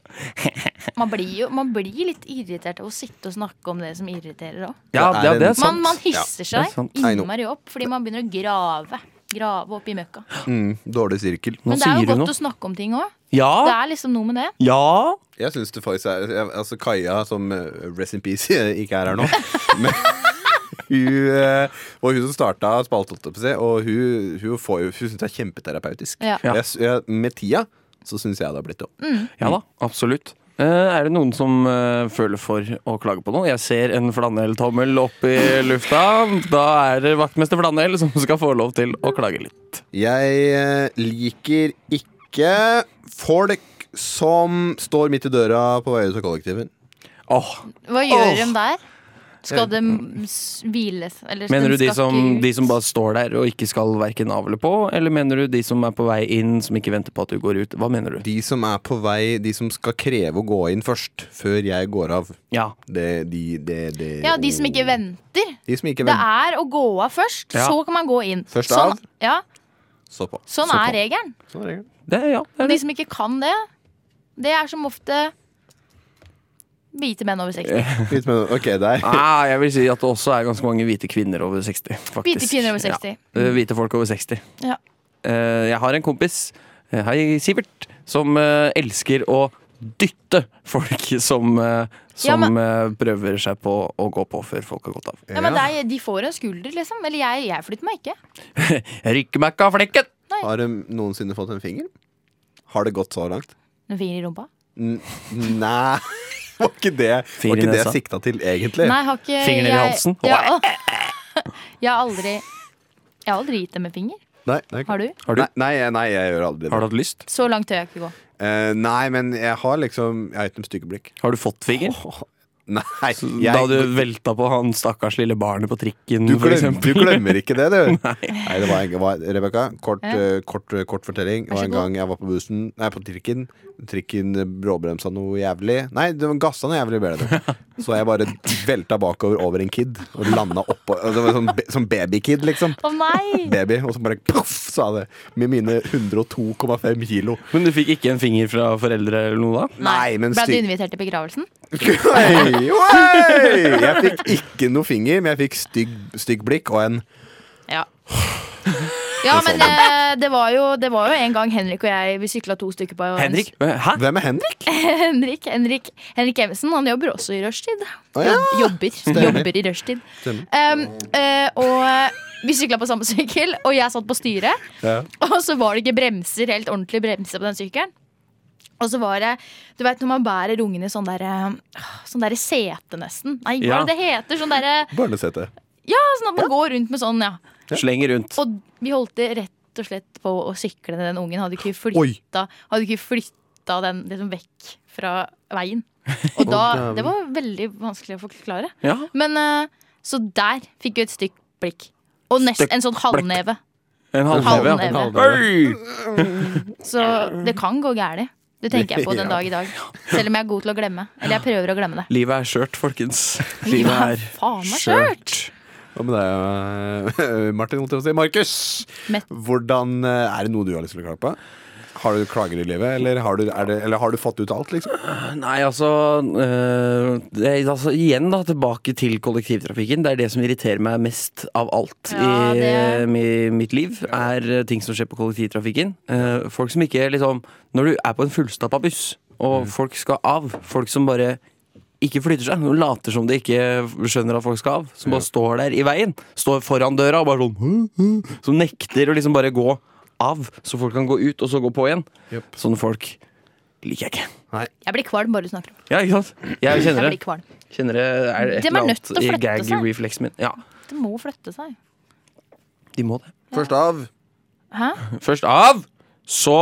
Man blir jo man blir litt irritert av å sitte og snakke om det som irriterer òg. Ja, Det er ja, det en- er sant. Man, man hisser det er sant. seg I know. innmari opp fordi man begynner å grave. Grave opp i møkka. Mm, dårlig sirkel. Nå Men det er sier jo du godt noe. Ah. å snakke om ting òg. Det Ja, er liksom noe med det. ja. Jeg syns det faktisk er jeg- Altså Kaja, som eh, Rest in Peace ikke er her nå. Men hun eh, var hun som starta spalten, holdt jeg på å si, og hun, hun, får jo- hun syns det er kjempeterapeutisk. Ja. Mm. Ja. Jeg, s- jeg, med tida så syns jeg det har blitt det. Ja da, absolutt. Eh, er det noen som eh, føler for å klage på noe? Jeg ser en flanelltommel opp i lufta. Da er det vaktmester Flanell som skal få lov til å klage litt. Jeg eh, liker ikke folk som står midt i døra på vei ut av kollektivet. Åh, Hva gjør Åh. Eh, mm. de der? Skal de s- hvile s- eller Mener du de skal som, ikke ut? de som bare står der og ikke skal verken av eller på? Eller mener du de som er på vei inn, som ikke venter på at du går ut? Hva mener du? De som er på vei, de som skal kreve å gå inn først, før jeg går av. Ja, Det, de, det, det, Ja, de som ikke venter. De som ikke Det venter. er å gå av først, Ja. så kan man gå inn. Først sånn, av? Ja, Så på. sånn Så er på. regelen. Sånn er regelen. det, ja, det er De det. som ikke kan det, det er som ofte hvite menn over 60. Eh, Litt med- Ok, der. Ah, jeg vil si at det også er ganske mange hvite kvinner over 60. Faktisk. Hvite kvinner over 60. Ja. Eh, Hvite folk over 60. Ja. Eh, jeg har en kompis, eh, hei Sivert, som eh, elsker å dytte folk som, eh, Ja, som eh, prøver seg på å gå på før folk har gått av. Ja, men det er, de får en skulder, liksom. Eller jeg, jeg flytter meg ikke. Jeg rykker meg ikke av flekken! Har de noensinne fått en finger? Har det gått så langt? En finger i rumpa. N nei. Var ikke det Finger Var i ikke det jeg nesa. sikta til, egentlig? Nei, har ikke Eh, Fingeren i jeg- halsen. Ja. Jeg har aldri Jeg har aldri gitt dem en finger. Nei, det er ikke- Har du? Har du, Nei, nei, jeg- nei, jeg gjør aldri det. har du hatt lyst? Så langt tør jeg ikke gå. Eh, nei, men jeg har liksom Jeg har gitt dem styggeblikk. Har du fått finger? Nei, jeg, da du velta på han stakkars lille barnet på trikken, du, for glem, eksempel. du glemmer ikke det, du. nei. det var, en- var Rebekka, kort, Ja. eh, kort, eh, kort fortelling. Det Vær så var en god. gang jeg var på bussen Nei, på trikken. Trikken eh, bråbremsa noe jævlig. Nei, den gassa noe jævlig, ble det. Så jeg bare velta bakover over en kid og landa oppå og Det var sånn, be- sånn babykid, liksom. Å nei! Baby. Og så bare poff, sa det. Med mine 102,5 kilo. Men du fikk ikke en finger fra foreldre eller noe da? Nei, men Ble du styr- invitert til begravelsen? Oi, oi! Jeg fikk ikke noe finger, men jeg fikk stygg, stygg blikk og en Ja. Ja, men sånn. eh, det var, jo, det var jo en gang Henrik og jeg Vi sykla to stykker på en- Henrik? Eh, Hæ? Hvem er Henrik? Henrik, Henrik, Henrik Evensen. Han jobber også i rushtid. Å, ja. Jobb- Jobber, jobber i rushtid. Stemmer. Um, eh, og vi sykla på samme sykkel, og jeg satt på styret. Ja. Og så var det ikke bremser, helt ordentlig bremser på den sykkelen. Og så var det Du vet når man bærer ungen i sånn derre sånn der sete, nesten. Nei, hva Ja. er det det heter? Sånn derre Barnesete. Ja, sånn at man går rundt med sånn, ja. Sleng rundt. Og vi holdt det rett og slett på å sykle ned den ungen. Hadde ikke Oi. flytta, hadde ikke flytta den liksom vekk fra veien. Og da Det var veldig vanskelig å forklare. Ja. Men eh, så der fikk vi et stygt blikk. Og nest, Stygt en sånn halvneve. En halvneve. Halvneve. ja. Oi! Så det kan gå gærent. Det tenker jeg på den Ja. dag i dag. Selv om jeg er god til å glemme. Eller jeg prøver å glemme det. Livet er skjørt, folkens. Livet er faen meg skjørt. Hva med deg, eh, Martin? Holdt jeg på å si. Markus! Mett. Hvordan eh, Er det noe du har lyst til å klage på? Har du klager i livet, eller har du, er det, eller har du fått ut alt, liksom? Nei, altså, øh, det, altså Igjen, da, tilbake til kollektivtrafikken. Det er det som irriterer meg mest av alt Ja, i det- eh, mi, mitt liv. Er eh, ting som skjer på kollektivtrafikken. Eh, folk som ikke liksom Når du er på en fullstappa buss, og folk skal av. Folk som bare ikke flytter seg. Hun later som de ikke skjønner at folk skal av. Som bare står der i veien. Står foran døra og bare sånn «Hm, hm», Som nekter å liksom bare gå av, så folk kan gå ut og så gå på igjen. Jep. Sånne folk liker jeg ikke. Jeg blir kvalm bare du snakker om det. Ja, ikke sant? Jeg Jeg kjenner blir det. kvalm. Kjenner det er et De er nødt eller annet til å i flytte gag seg. reflexen min. Ja, Det må flytte seg. de må det. Først av Hæ? Først av, så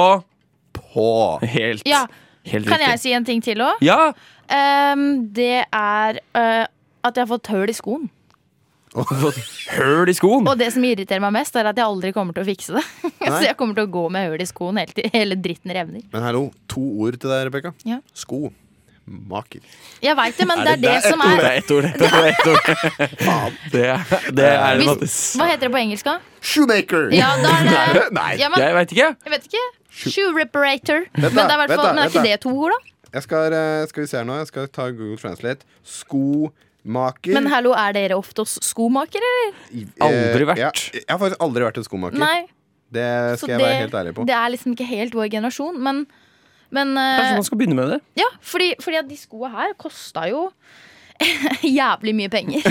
på. helt, Ja, helt kan jeg riktig. si en ting til òg? Ja! det er eh, at jeg har fått hull i skoen. Høl i skoen! Og det som irriterer meg mest, er at jeg aldri kommer til å fikse det. Så jeg kommer til å gå med hull i skoen helt til hele dritten revner. Men hallo, to ord til deg, Rebekka. Ja. Sko. Maker. Jeg veit det, men det er det, som Det er er ett ord. Det er ett ord. Det, er- det er det, Hvis- Mattis. Hva heter det på engelsk, da? Shoemaker! Ja, da er det Nei, ja, men, Jeg veit ikke. Jeg vet ikke. Shoe reparator. da, Men, det er, vent da, hvertfall- men er vent da. ikke det to ord, da? jeg skal, eh, skal vi se her nå. Jeg skal ta Google Translate. Skomaker. Men hallo, er dere ofte hos skomakere, eller? Aldri Eh, vært. Ja, jeg har faktisk aldri vært en skomaker. Nei. Det Så skal jeg det, være helt ærlig på. det er liksom ikke helt vår generasjon, men, men eh, Kanskje man skal begynne med det? Ja, fordi, fordi at de skoene her kosta jo jævlig mye penger.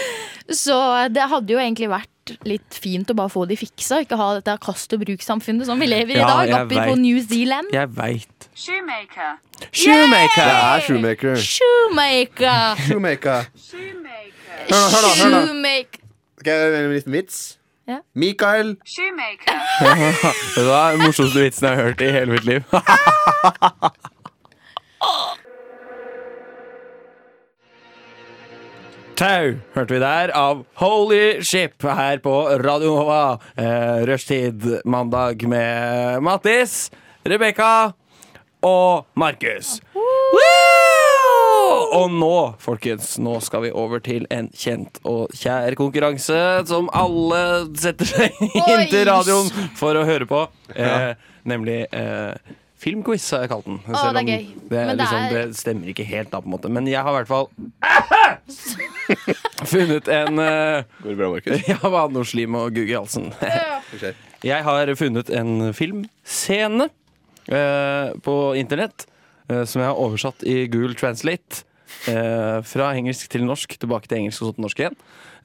Så det hadde jo egentlig vært litt fint å bare få de fiksa, ikke ha dette kast og bruk-samfunnet som vi lever i i Ja, dag, jeg oppe på vet. New Zealand. Jeg veit. Shoemaker. Det Shoemaker! er shoemaker. Shoemaker! Shoemaker. Shoemaker. Hør nå, hør nå, hør nå. Shoemaker. Skal jeg gjøre en liten vits? Ja. Mikael. Shoemaker. Det var den morsomste vitsen jeg har hørt i hele mitt liv. Tau, hørte vi der, av Holy Ship her på Radio Nova. Eh, Rushtid mandag med Mattis, Rebekka og Markus. Woo! Og nå, folkens, nå skal vi over til en kjent og kjær konkurranse som alle setter seg inn til radioen for å høre på. Eh, nemlig eh, Filmquiz har jeg kalt den. Selv det er om gøy. Det, Men er det liksom, er- det stemmer ikke helt, da, på en måte. Men jeg har i hvert fall funnet en eh, Går det bra, Markus? Jeg har hatt noe slim og gugg i halsen. Jeg har funnet en filmscene eh, på internett eh, som jeg har oversatt i Google Translate. eh, fra engelsk til norsk, tilbake til engelsk og så til norsk igjen.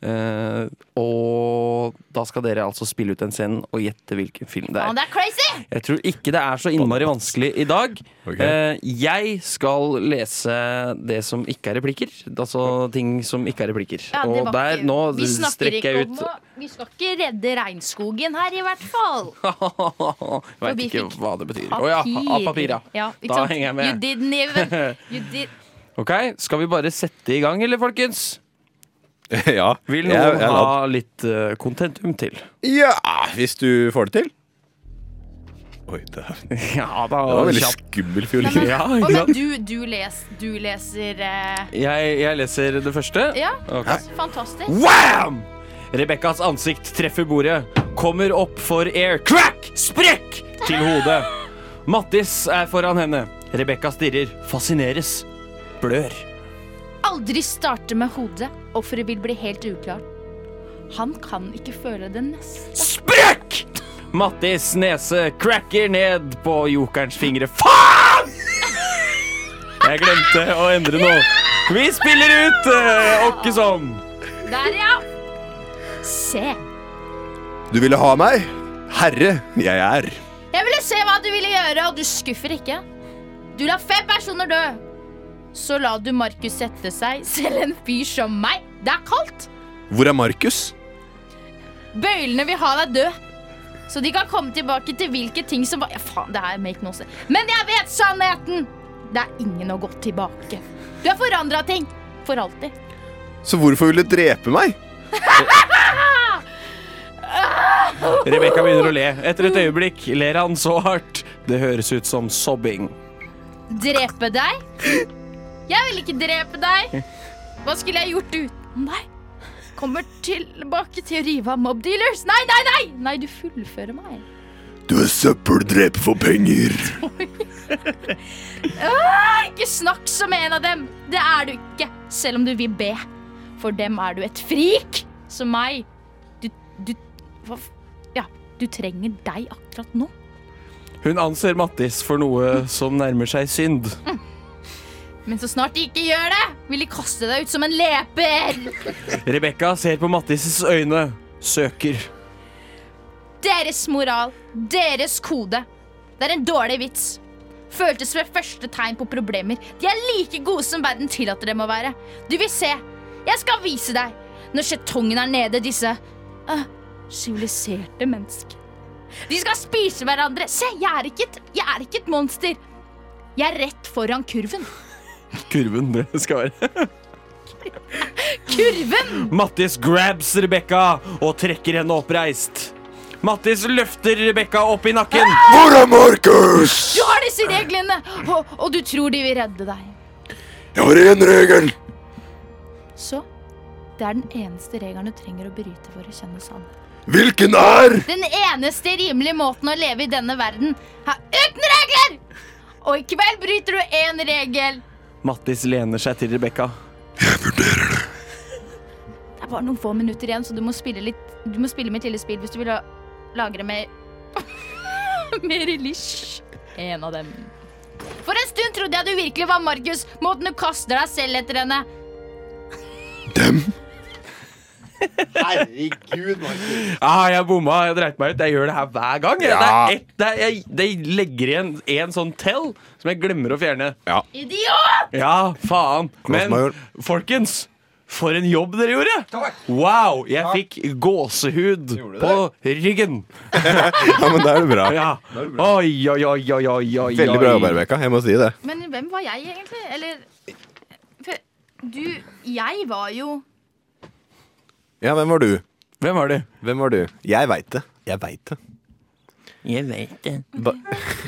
Eh, og da skal dere altså spille ut den scenen og gjette hvilken film det Ja, er. det er crazy! Jeg tror ikke det er så innmari vanskelig i dag. Ok. Eh, jeg skal lese det som ikke er replikker. Altså ting som ikke er replikker. Ja, det og var der, ikke- nå vi snakker strekker jeg ikke ut om å- Vi skal ikke redde regnskogen her, i hvert fall. Jeg veit vi ikke fikk hva det betyr. Å ja, av papir, ja. ikke Da sant? henger jeg med. You didn't even you did... Ok, Skal vi bare sette i gang, eller, folkens? ja. Jeg- Vil noen jeg er ha ladd. litt eh, kontentum til? Ja, hvis du får det til. Oi, det er- det Ja da, var veldig kjapt. skummel Nei, fiolin. men, Ja, Å, ikke sant? men du, du, les, du leser eh, Jeg, jeg leser det første. Ja, Ok. fantastisk. Wham! Rebekkas ansikt treffer bordet, kommer opp for air. Crack! Sprekk! Til hodet. Mattis er foran henne. Rebekka stirrer, fascineres, blør. Aldri starte med hodet. Offeret vil bli helt uklart. Han kan ikke føle det neste. Sprekk! Mattis nese cracker ned på jokerens fingre. Faen! Jeg glemte å endre noe. Vi spiller ut eh, Åkkeson. Der, ja! Se. Du ville ha meg? Herre, jeg er. Jeg ville se hva du ville gjøre, og du skuffer ikke. Du lar fem personer dø. Så la du Markus sette seg, selv en fyr som meg. Det er kaldt. Hvor er Markus? Bøylene vil ha deg død. Så de kan komme tilbake til hvilke ting som var Ja, faen, det her make no sense. Men jeg vet sannheten! Det er ingen å gå tilbake. Du har forandra ting. For alltid. Så hvorfor vil du drepe meg? Rebekka begynner å le. Etter et øyeblikk ler han så hardt. Det høres ut som sobbing. Drepe deg? Jeg vil ikke drepe deg. Hva skulle jeg gjort uten deg? Kommer tilbake til å rive av mob dealers. Nei, nei, nei! Nei, du fullfører meg. Du er søppeldreper for penger. Ikke snakk som en av dem. Det er du ikke, selv om du vil be. For dem er du et frik, som meg. Du, du hva f- Ja, du trenger deg akkurat nå. Hun anser Mattis for noe som nærmer seg synd. Men så snart de ikke gjør det, vil de kaste deg ut som en leper. Rebekka ser på Mattises øyne. Søker. Deres moral, deres kode. Det er en dårlig vits. Føltes ved første tegn på problemer. De er like gode som verden tillater dem å være. Du vil se. Jeg skal vise deg. Når skjetongen er nede, disse ah, siviliserte mennesker. De skal spise hverandre. Se, jeg er ikke et, jeg er ikke et monster. Jeg er rett foran kurven. Kurven det skal være. Kurven! Mattis grabs Rebekka og trekker henne oppreist. Mattis løfter Rebekka opp i nakken. Hvor er Markus? Du har disse reglene, og, og du tror de vil redde deg. Jeg har én regel. Så det er den eneste regelen du trenger å bryte for å kjenne sannhet. Hvilken er? Den eneste rimelige måten å leve i denne verden er uten regler! Og i kveld bryter du én regel. Mattis lener seg til Rebekka. Det er bare noen få minutter igjen, så du må spille, litt, du må spille med tidligere spill hvis du vil ha- lagre mer Mer lisj. En av dem. For en stund trodde jeg du virkelig var Markus, måten du kaster deg selv etter henne. Dem. Herregud, Markus. Ah, jeg bomma, jeg dreit meg ut. Jeg gjør det her hver gang. jeg. Ja. Det, er ett, det, er, jeg, det legger igjen en sånn tell som jeg glemmer å fjerne. Idiot! Ja, faen. Men Major. folkens, for en jobb dere gjorde! Wow, jeg fikk gåsehud Gjorde du på ryggen. Ja, men da er det bra. Ja. Oi, oi, oi, oi, oi, oi. Veldig bra jobba, Rebekka. Jeg må si det. Men hvem var jeg egentlig? Eller eh, for, Du Jeg var jo Ja, hvem var du? Hvem var du? Hvem var du? Jeg veit det. Jeg veit det. Jeg vet det. Ba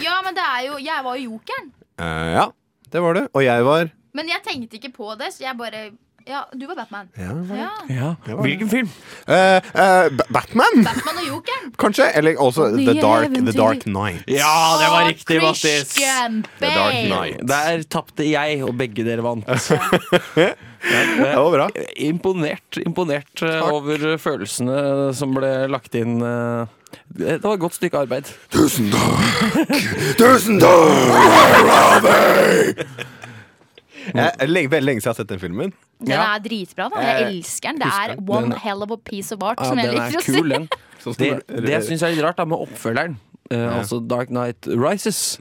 Ja, men det er jo Jeg var jo jokeren. Eh, ja, det var det. Og jeg var Men jeg tenkte ikke på det, så jeg bare Ja, du var Batman. ja. Ja, Ja. Hvilken film? Eh, eh, Ba- Batman, Batman og jokeren. kanskje? Eller også The Nye Dark, eventyr. The Dark Night. Ja, det var riktig, Mattis. Christian The Dark Bale. Knight. Der tapte jeg, og begge dere vant. Eh, Det var bra. Imponert, imponert eh, over eh, følelsene som ble lagt inn. eh. Det det var et godt stykke arbeid. Tusen takk! Tusen takk! Jeg, lenge, veldig lenge siden jeg har sett den filmen. Den Ja. er dritbra. da Jeg Eh, elsker den. Det er husker one den. hell of a piece of art, Ja, som jeg den liker er å si. kul, den. Det, det jeg syns er litt rart da, med oppfølgeren, eh, altså Dark Knight Rises,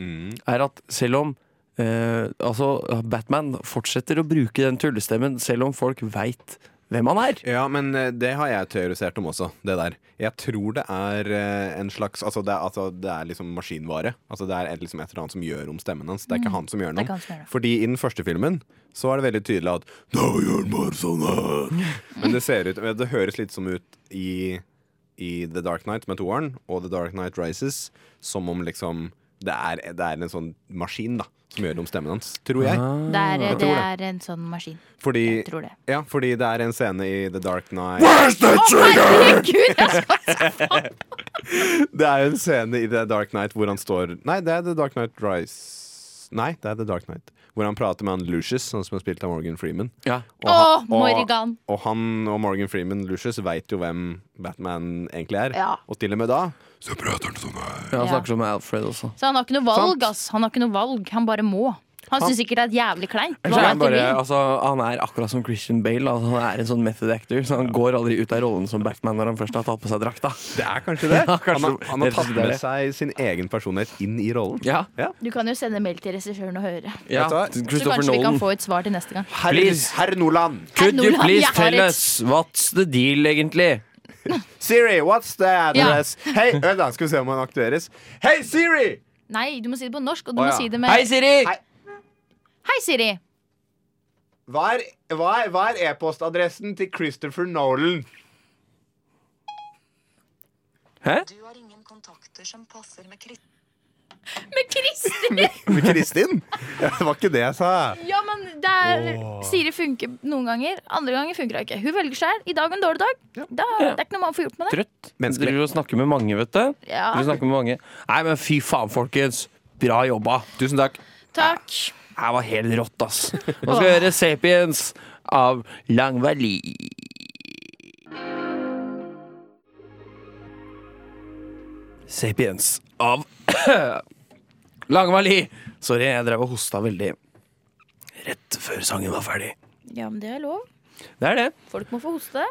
er at selv om eh, altså, Batman fortsetter å bruke den tullestemmen selv om folk veit hvem han er. Ja, men eh, det har jeg teorisert om også, det der. Jeg tror det er eh, en slags Altså, det er, altså, det er liksom maskinvare. Altså, det er et- liksom et eller annet som gjør om stemmen hans. Det er ikke han som Mm. gjør Det er ikke noe. han som gjør det. Fordi i den første filmen så er det veldig tydelig at Da gjør han bare sånn her. Men det ser ut Det høres litt som ut i, i The Dark Knight med toeren og The Dark Knight Rises som om liksom det er, det er en sånn maskin, da, som gjør om stemmen hans. Tror jeg. Det er, Jeg det tror er en sånn maskin. Fordi, Ah. Jeg tror det. ja, fordi det er en scene i The Dark Knight Herregud, jeg skal Det er jo en scene i The Dark Knight hvor han står Nei, det er The Dark Knight Rise Nei, det er The Dark Knight. Hvor han prater med han Lucius, han som er spilt av Morgan Freeman. Ja. Og han- Åh, Morgan. Og, og han og Morgan Freeman Lucius veit jo hvem Batman egentlig er. Ja. Og til og med da Så prater han sånn her. Ja, Han Ja. snakker som Alfred også. Så han har ikke noe Sant. valg, ass. Han har ikke noe valg. Han bare må. Han syns sikkert det er jævlig kleint. Så Hva er er han, det bare, vi? altså, han er akkurat som Christian Bale. Altså, han er en sånn method actor, så han går aldri ut av rollen som Batman når han først har tatt på seg drakta. Det er kanskje det. Ja, kanskje han, har, han har det er tatt det. med seg sin egen personlighet inn i rollen. Ja, Du kan jo sende mail til regissøren og høre. Vet ja. du hva? Så Christopher kanskje vi kan Nolan. få et svar til neste gang. Herr, Please. herr Nordland. Could you Nolan, please jeg har tell et- us what's the deal, egentlig? Siri, what's the address? Hei, vent da, skal vi se om han aktiveres. Hei, Siri! Nei, du må si det på norsk, og du Å, må ja. si det med Hei, Siri! Hei. Hei, Siri. Hva er, hva er, hva er e-postadressen til Christopher Nolan? Hæ? Du har ingen kontakter som passer med Kristin. Med Kristin! Kristin? Ja, det var ikke det jeg sa. Ja, men det er Siri funker noen ganger, andre ganger funker hun ikke. Hun velger sjøl. I dag er en dårlig dag. Da, det er ikke noe man får gjort med det. Trøtt. Menneskelig. Driver og snakker med mange, vet du. Ja. Driver og snakker med mange. Nei, men fy faen, folkens. Bra jobba. Tusen takk. Takk. Det var helt rått, ass. Nå skal vi høre Sapiens av Langvali. Sapiens av Langvali. Sorry, jeg drev og hosta veldig. rett før sangen var ferdig. Ja, men det er lov. Det er det. Folk må få hoste.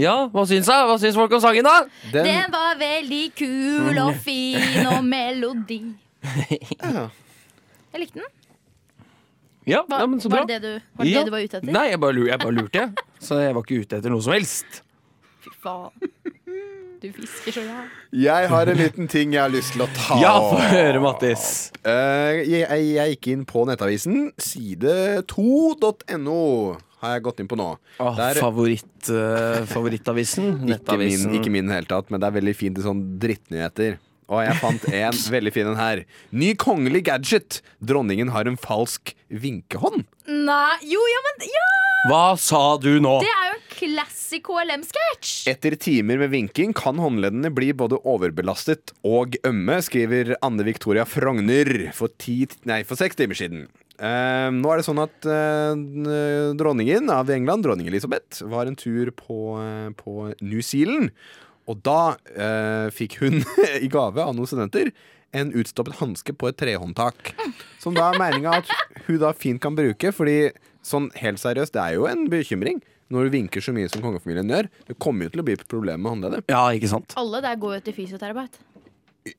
Ja, hva syns, jeg? Hva syns folk om sangen, da? Den var veldig kul og fin og melodi. Jeg likte den. Ja, Hva, ja men så var bra. det det du var, det Ja. det du var ute etter? Nei, jeg bare, lur- jeg bare lurte, jeg. Så jeg var ikke ute etter noe som helst. Fy faen. Du fisker så jævlig. Jeg har en liten ting jeg har lyst til å Ah. ta Ja, få høre, Mattis. Eh, jeg, jeg, jeg gikk inn på nettavisen side2.no har jeg gått inn på nå. Ah, Åh, Der- favoritt, eh, favorittavisen. ikke min, Nettavisen. ikke min i det hele tatt, men det er veldig fint i sånn drittnyheter. Og jeg fant en veldig fin en her. Ny kongelig gadget. Dronningen har en falsk vinkehånd. Nei, jo, ja, men ja! Hva sa du nå? Det er jo en classic KLM-sketsj! Etter timer med vinking kan håndleddene bli både overbelastet og ømme, skriver Anne Victoria Frogner for, ti, nei, for seks timer siden. Eh, nå er det sånn at eh, dronningen av England, dronning Elisabeth, var en tur på, eh, på New Zealand. Og da eh, fikk hun i gave av noen studenter en utstoppet hanske på et trehåndtak. Som da er meninga at hun da fint kan bruke, fordi sånn helt seriøst, det er jo en bekymring. Når du vinker så mye som kongefamilien gjør, det kommer jo til å bli et problem med håndleddet. Ja, ikke sant? Alle der går jo til fysioterapeut.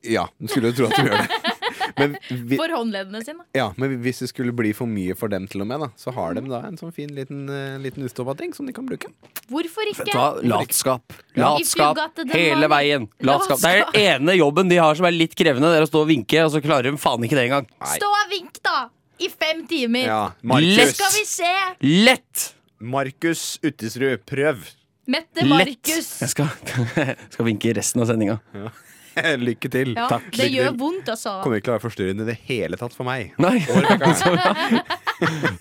Ja, du skulle jo tro at du gjør det. Men, vi, For håndleddene sine. ja, men hvis det skulle bli for mye for dem til og med, da, så har de da en sånn fin liten, eh, liten utstoppa ting som de kan bruke. Hvorfor ikke? Vet du hva? Latskap. If you got Latskap the hele demand. veien. Latskap. Det er den ene jobben de har som er litt krevende. Det er å stå og vinke, og så klarer de faen ikke det engang. Stå og vink, da! I fem timer. Ja, Lett. Markus, Skal vi se! Lett! Markus Uttesrud, prøv! Mette Lett! Markus. Jeg skal, skal vinke resten av sendinga. Lykke til. Ja, det gjør vondt, altså. Kommer ikke til å være forstyrrende i det hele tatt for meg. Nei, så bra.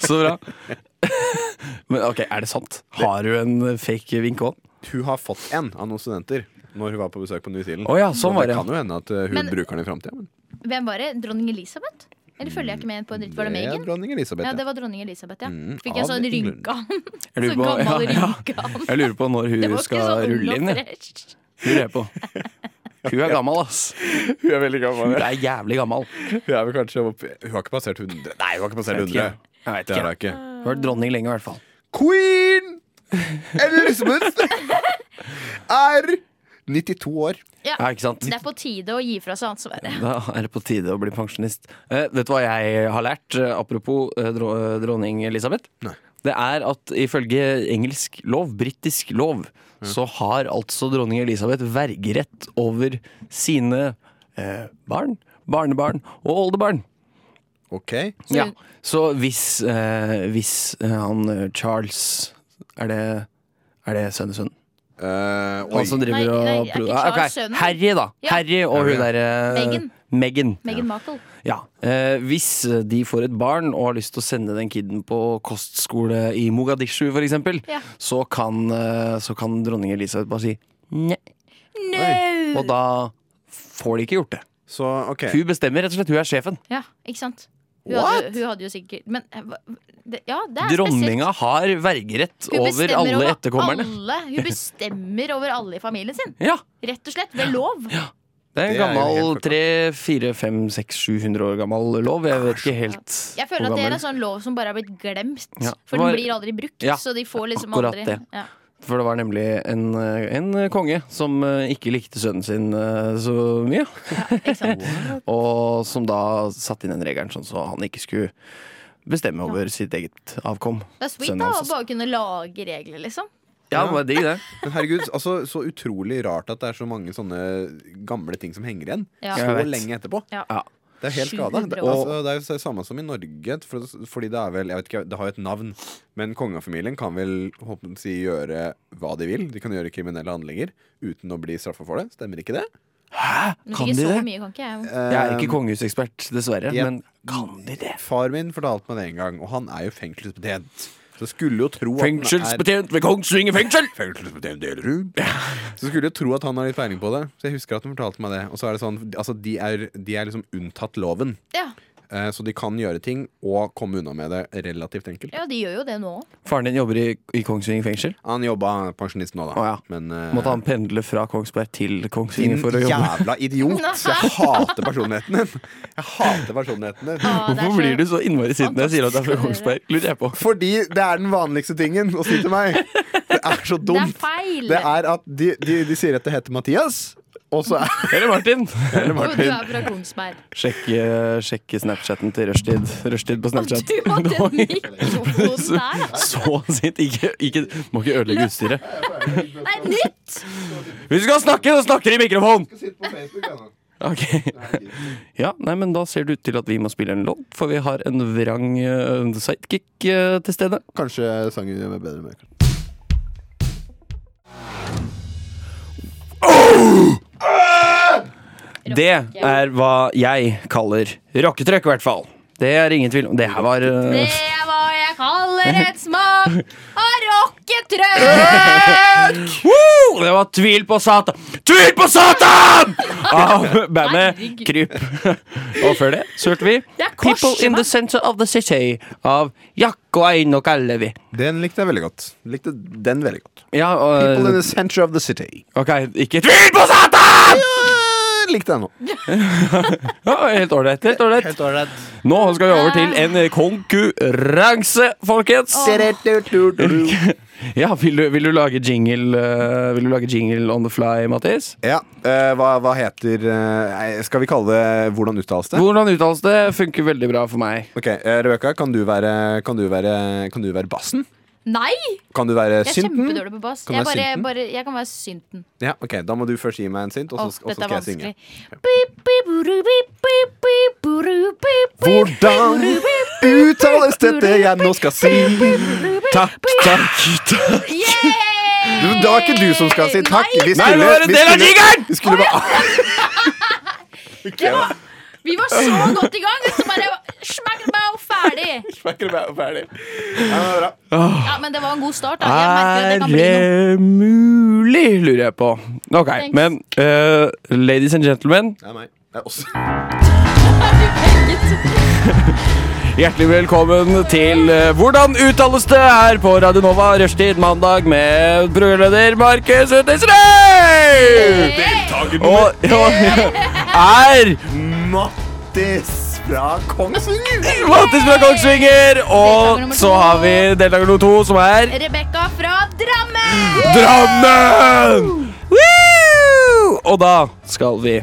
Så bra. Men ok, er det sant? Har du en fake vink òg? Hun har fått en av noen studenter når hun var på besøk på New Zealand. Å ja, sånn Og var det, kan jo hende at uh, hun Men- bruker den i framtida. Hvem var det? Dronning Elisabeth? Eller følger jeg ikke med på en dritt? Var det Megan? dronning Elisabeth. Ja, det Ja, var dronning Elisabeth, ja. Mm, Fikk jeg av sånn England. rynka han. Jeg lurer Sånn på- gammel ja, ja. rynka han. Jeg lurer på når Det hun var ikke skal sånn ung og rulle inn. jeg. fresh. Lurer jeg på. Hun er gammel, ass. Hun er veldig gammel. Hun er jævlig gammel. Hun er vel kanskje opp... Hun har ikke passert 100. Nei, hun har ikke passert Jeg vet ikke. 100. Jeg vet Det har hun ikke. ikke. Hun har vært dronning lenge, i hvert fall. Queen Elizabeth er 92 år. Ja, Ja, ikke sant? det er på tide å gi fra seg ansvaret. Da er det på tide å bli pensjonist. Eh, vet du hva jeg har lært, eh, apropos eh, dro eh, dronning Elisabeth? Nei. Det er at ifølge engelsk lov, britisk lov, så har altså dronning Elisabeth vergerett over sine eh, barn, barnebarn og oldebarn. OK. Eh, Så- Ja. Så hvis, eh, hvis eh, han eh, Charles Er det, er det sønnesønnen? Eh, oi. Han som driver Nei, nei, er og ikke Ah, ok. Charles sønnen? Harry, da. Ja. Harry og Harry, hun derre Meghan. Megan. Meghan Markle. Ja. Eh, hvis de får et barn og har lyst til å sende den kiden på kostskole i Mogadishu f.eks., Ja. så, kan, eh, så kan dronning Elisabeth bare si nei. No! Og da får de ikke gjort det. Så OK. Hun bestemmer, rett og slett. Hun er sjefen. Ja, ikke sant? Hun hadde, hun hadde jo sikkert Men eh, hva- det, ja, det er Dronninga har vergerett spesielt. Hun over bestemmer alle etterkommerne. alle. Hun bestemmer over alle i familien sin. Ja, Rett og slett. Ved lov. det er en Det er jo gammel helt 3, 4, 5, 6, 700 år gammel lov. Jeg vet ikke helt Jeg føler at hvor det er gammel. en sånn lov som bare har blitt glemt. Ja, For det var- den blir aldri brukt. Ja, så de får liksom akkurat aldri det. Ja. For det var nemlig en, eh, en konge som eh, ikke likte sønnen sin eh, så mye. Ikke sant? Og som da satte inn den regelen sånn så han ikke skulle bestemme over sitt eget avkom. Det er sweet Sønnen da, å hans, altså. bare kunne lage regler, liksom. Ja, det var digg, det. Men herregud, altså, så utrolig rart at det er så mange sånne gamle ting som henger igjen Ja. så Jeg vet. lenge etterpå. Ja. Ja. Det er helt skada. 700 Det, år. altså, det er jo det samme som i Norge, for, fordi det er vel Jeg vet ikke, det har jo et navn, men kongefamilien kan vel håper jeg å si, gjøre hva de vil. De kan gjøre kriminelle handlinger uten å bli straffa for det. Stemmer ikke det? Hæ? Men Kan ikke de så det? Eh. mye, kan ikke jeg. Jeg er ikke kongehusekspert, dessverre, Ja. men kan de det? Far min fortalte meg det en gang, og han er jo fengselsbetjent. Så skulle jo tro at han er- Fengselsbetjent ved Kongsvinger fengsel! Fengselsbetjent Delerud. Så skulle jo tro at han har litt peiling på det. Så jeg husker at han fortalte meg det. Og så er det sånn, altså de er, de er liksom unntatt loven. Ja. Eh, Så de kan gjøre ting og komme unna med det relativt enkelt. Ja, de gjør jo det nå. Faren din jobber i, i Kongsvinger fengsel. Han jobba pensjonist nå, da. Å, ja. Men eh, Måtte han pendle fra Kongsberg til din Kongsvinger for å jobbe? jævla idiot! Jeg hater personligheten din! Jeg hater personligheten din. Ah, det er Hvorfor så- blir du så innmari sint når jeg sier at det er fra Kongsberg? Lurer jeg på. Fordi det er den vanligste tingen å si til meg. Det er Det så er dumt. feil! Det er at de, de, de sier at det heter Mathias, og så er Eller Martin. Eller Jo, du Martin. er fra Kongsberg. Sjekk, eh, sjekk Snapchatten til rushtid. Rushtid på Og Snapchat. du og den Oi, mikrofonen der! altså. Så sint. Ikke, ikke, må ikke ødelegge utstyret. Det er nytt! Hvis du skal snakke, så snakker du i mikrofonen! Sitt på Facebook, ja, nå. Ok. Ja, nei, men da ser det ut til at vi må spille en låt, for vi har en vrang eh, sidekick eh, til stede. Kanskje sangen gjør meg bedre med Det er hva jeg kaller rocketrøkk, i hvert fall. Det er ingen tvil om. Det her var eh, Det er hva jeg kaller et smak av rocketrøkk! Woo! Det var Tvil på Satan Tvil på Satan! Av bandet Herregud. Kryp. Og før det så hørte vi Jeg korser People in the meg. Center of the City av Jack og Einok Ellevi. Den likte jeg veldig godt. Likte den veldig godt. Ja, People in og, the center of the city. ok, ikke Tvil på Satan! Eh, Likte jeg nå. Ja, helt ålreit. Helt ålreit. Nå skal vi over til en konkurranse, folkens. Ja, vil du, vil du lage jingle eh, Vil du lage jingle on the fly, Mattis? Ja, eh, hva, hva heter eh, nei, Skal vi kalle det Hvordan uttales det? Hvordan uttales det? Funker veldig bra for meg. Ok, eh, Rebekka, kan, du være- kan, du være- kan du være bassen? Nei! Kan du være Jeg er synten? kjempedårlig på bass. Kan du Jeg, være bare, synten? bare, jeg kan være synten. Ja, ok, Da må du først gi meg en synt, og så Åh, og så dette skal er jeg synge. vanskelig. Bip, bip, buru, bip, bip, bip, buru, bip, bip, Hvordan bip, bip, uttales dette jeg nå skal si? Takk, takk, takk. bip. Yay! Det var ikke du som skal si takk. Vi Nei, det var en vi del av skulle- jingeren! Vi skulle bare Vi var så godt i gang, og så bare smakk meg og ferdig. Ja, men det var en god start. Da. Jeg merker at det kan bli noe. Er det mulig, lurer jeg på. Ok, Thanks. men eh, ladies and gentlemen, Det er meg. Det er oss. hjertelig velkommen til eh, Hvordan uttales det her på Radio Nova rushtid mandag med programleder Markus Utisrøy! Deltaker nummer Og ja, er Mattis fra Kongsvinger. Mattis fra Kongsvinger, og så har vi deltaker nummer to, som er Rebekka fra Drammen! Drammen! Woo! Og da skal vi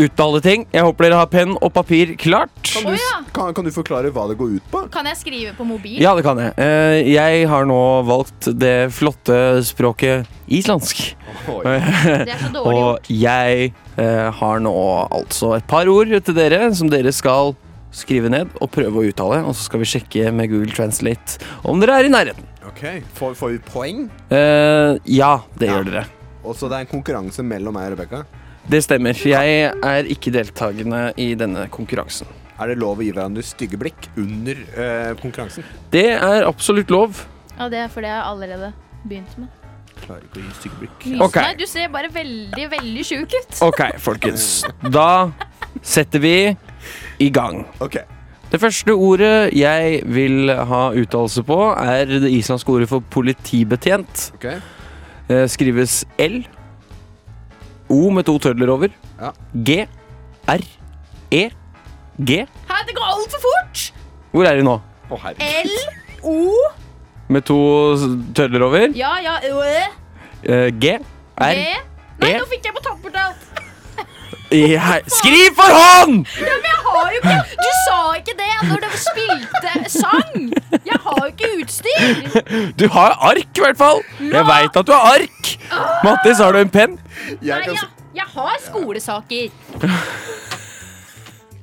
uttale ting. Jeg håper dere har penn og papir klart. Å ja. Kan, kan du forklare hva det går ut på? Kan jeg skrive på mobil? Ja, det kan jeg. Eh, Jeg har nå valgt det flotte språket islandsk. Det er så dårlig Og gjort. jeg eh, har nå altså et par ord til dere som dere skal skrive ned og prøve å uttale. Og så skal vi sjekke med Google Translate om dere er i nærheten. Ok, Får, får vi poeng? Eh, ja, det gjør dere. Og så det er en konkurranse mellom meg og Rebekka. Det stemmer. Jeg er ikke deltakende i denne konkurransen. Er det lov å gi hverandre stygge blikk under eh, konkurransen? Det er absolutt lov. Ja, det er fordi jeg allerede begynt med. Klarer ikke å gi stygge blikk. Ok. Nei, du ser bare veldig, veldig sjuk ut. OK, folkens. Da setter vi i gang. Ok, Det første ordet jeg vil ha uttalelse på, er det islandske ordet for politibetjent. ok Eh, Skrives L. O med to tødler over. Ja. G. R. E. G. Hæ, det går altfor fort! Hvor er de nå? Å, herregud. L, O Med to s- tødler over. Ja, ja, Ø, Eh, G. B R. Nei, E. nå fikk jeg på toppen alt. E. her. Skriv for hånd! Ja, men jeg har jo ikke Du sa ikke det når du spilte sang! Jeg har jo ikke utstyr! Du har ark, i hvert fall. Jeg veit at du har ark. Mattis, har du en penn? Nei, Jeg kan jeg, jeg har skolesaker.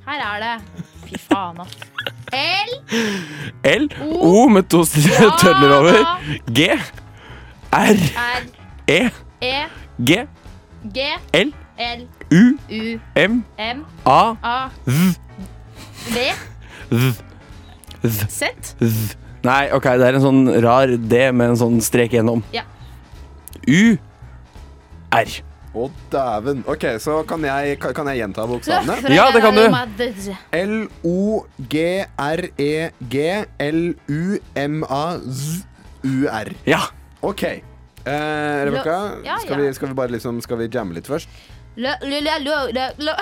Her er det. Fy faen, ass. L, L. O. O med to s- tødler over. G. R. R, E. E, G. G, L. L, U. U, M. M, A. A, V, Z. Z. Nei, ok, det er en sånn rar D med en sånn strek gjennom. Ja. U. R. Å, Å, dæven. OK, så kan jeg, kan- kan jeg gjenta bokstavene? Sånn, Ja, det kan du. E L-O-G-R-E-G-L-U-M-A-Z-U-R. Ja. OK. Eh, Rebekka, Ja, skal, ja. vi- skal vi bare liksom Skal vi jamme litt først? Lø, lø, lø, lø, lø, lø.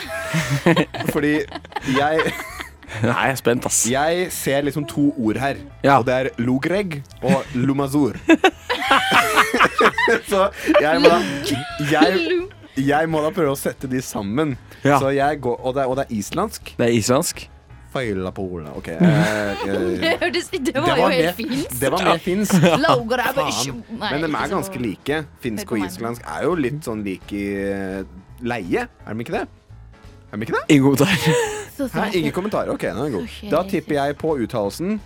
Fordi jeg, Nei, jeg er spent, ass. jeg ser liksom to ord her. Ja. Og det er logreg og lumazur. så jeg må da jeg, jeg må da prøve å sette de sammen. Ja. Så jeg går, og, det er, og det er islandsk. Det er islandsk. Feilapola. OK. eh, eh, Det, hørtes, det var jo helt fint. Det var mer finsk. Faen. Faen. Men de er ganske like. Finsk Hør på og meg. islandsk er jo litt sånn lik i eh, leie, er de ikke det? Er de ikke det? Ingen kommentar. Hæ? Ingen kommentarer. OK, nå er den god. Ok. Da tipper jeg på uttalelsen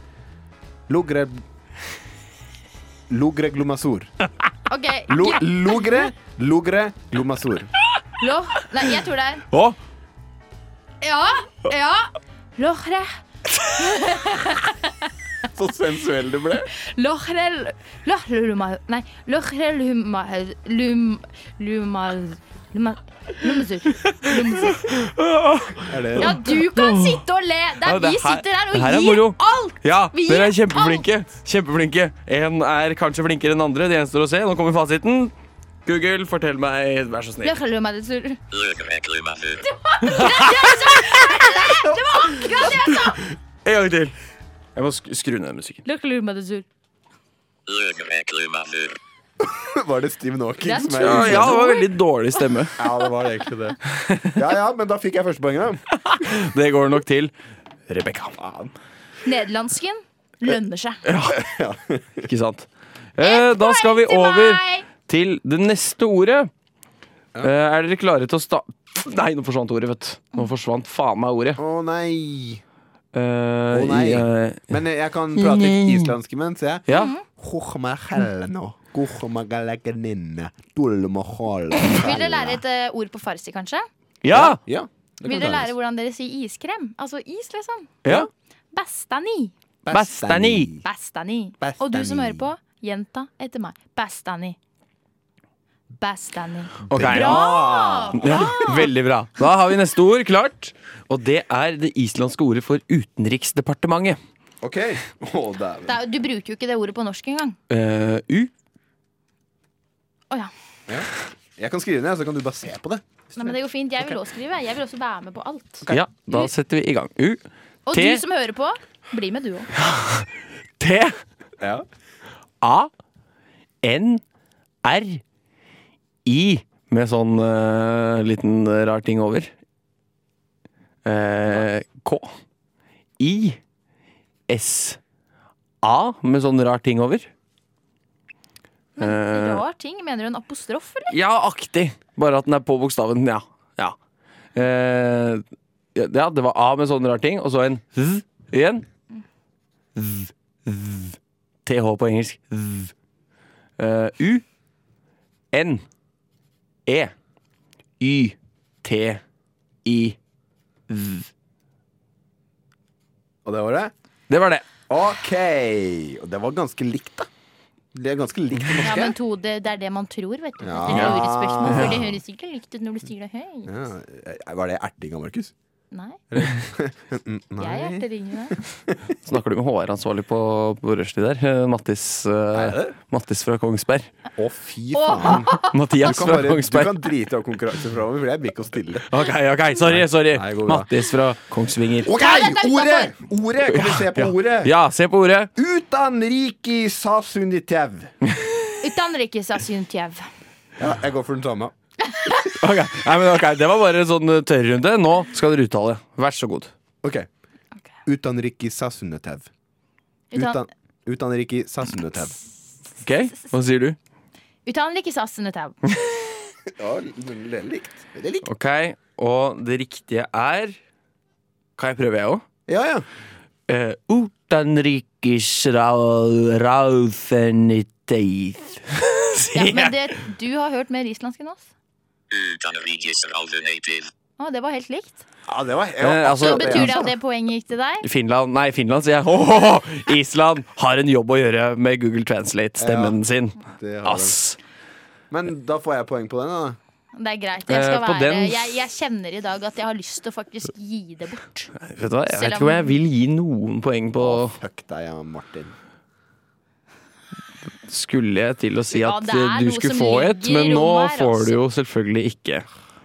logre... Logre glomasor. Ok, Lo, ja. logre, logre glomasor. Lo, nei, jeg tror det er Å, Ja, ja. Lohre, Så sensuell det ble. lohre, lohre luma, nei, lohre luma, lum, luma, luma, lumsur, lumsur. Er det Ja, du kan sitte og le. Det er Ja, det vi her- sitter her det her er og gir moro. alt. ja, Vi dere er gir kjempeflinke. Kjempeflinke. En er kanskje flinkere enn andre. Det gjenstår å se. Nå kommer fasiten. Google, fortell meg, vær så snill. Lohre luma, sur. En gang til. Jeg må sk skru ned musikken. Lohre luma, sur. Var det Steven Hawking Det er som Ja, er ja, det var veldig dårlig stemme. Ja, det var egentlig det. Ja ja, men da fikk jeg førstepoenget, da. Det går nok til Rebekka. Nederlandsken lønner seg. Ikke sant? Eh, da skal vi Til over meg. til det neste ordet. Eh, er dere klare til å sta... Nei, nå forsvant ordet, vet du. Nå forsvant faen meg ordet. Å nei. Eh, Å, nei. i, eh, Men jeg kan prate litt islandsk imens, jeg. ja. Hochmahelno. Gochmagalageninne. Vil dere lære et eh, ord på farsi, kanskje? ja! Ja. Vil dere lære hvordan dere sier iskrem? Altså is, liksom. Ja! Bestani. Bestani. Bestani. Bestani. Og du som hører på, gjenta etter meg. Bestani. Bestani. Ok. Bra! Ja, veldig bra. Da har vi neste ord klart. Og det er det islandske ordet for Utenriksdepartementet. OK. Å, dæven. Det er, du bruker jo ikke det ordet på norsk engang. Eh, U. Å ja. Jeg kan skrive ned, så kan du bare se på det. Nei, men det går fint. Jeg vil også skrive. Jeg vil også være med på alt. Ja, da setter vi i gang. U. Og Te. du som hører på, bli med du òg. T. Ja. A. N. R. I. Med sånn eh, liten rar ting over. Eh, K. I. S. A. Med sånn rar ting over. Eh, Rar ting. Mener du en apostrof, eller? Ja, aktig. Bare at den er på bokstaven. Ja. ja. Eh, ja, det var A med sånn rar ting, og så en Z igjen. Z, z. TH på engelsk. Z. Eh, U. N. E. Y. T. I. Og det var det? Det var det. OK. Og det var ganske likt, da. Det er ganske likt det Ja, norske. men to, det, det er det man tror, vet du. Ja. Det er et spørsmål, for det høres ikke likt ut når du sier det høyt. Ja. Var det erting av Markus? Nei. Jeg er erteringende. Snakker du med HR-ansvarlig på, på rushtid der? Eh, Mattis, eh, det? Mattis fra Kongsberg. Å, fy faen. Du Mathias kan, fra bare, du Kongsberg. kan drite av konkurransen framover, for jeg blir ikke å stille. Ok, ok, sorry, sorry. Nei, det går bra. Mattis fra Kongsvinger. OK! Ordet! Ordet! Kan vi se på ordet? Ja, se på ordet. Utanriki sasunitev. Utenrikesasjuntjev. Ja, jeg går for den samme. Ok, Nei, men ok, Det var bare en sånn eh, tørrrunde. Nå skal dere uttale. Vær så god. OK. Utanriki sasunitev. Utan, Utan, utanriki sasunitev. Ok, Hva sier du? Utenrikesasjuntjev. Ja, det er likt. Det er likt. Ok, Og det riktige er Kan jeg prøve, jeg òg? Ja, ja. Eh, Utenriksrauseniteith. Ja, Sier men jeg. det, du har hørt mer islandsk enn oss. Å, det var helt likt. ja det var Eh, ja. Så altså, betyr det at det poenget gikk til deg? Finland, nei, Finland sier jeg. Åhåhå! Island har en jobb å gjøre med Google Translate-stemmen sin. det har den. Ass. Men da får jeg poeng på den, da. Det er greit. Jeg, skal Eh, på være, den- jeg, jeg kjenner i dag at jeg har lyst til å faktisk gi det bort. Vet du hva, Jeg Selv vet ikke om om- jeg vil gi noen poeng på Fuck deg, ja, Martin. Skulle jeg til å si Ja, at det er eh, du noe skulle som få ligger et, men i nå rommet her, får du altså. jo selvfølgelig ikke.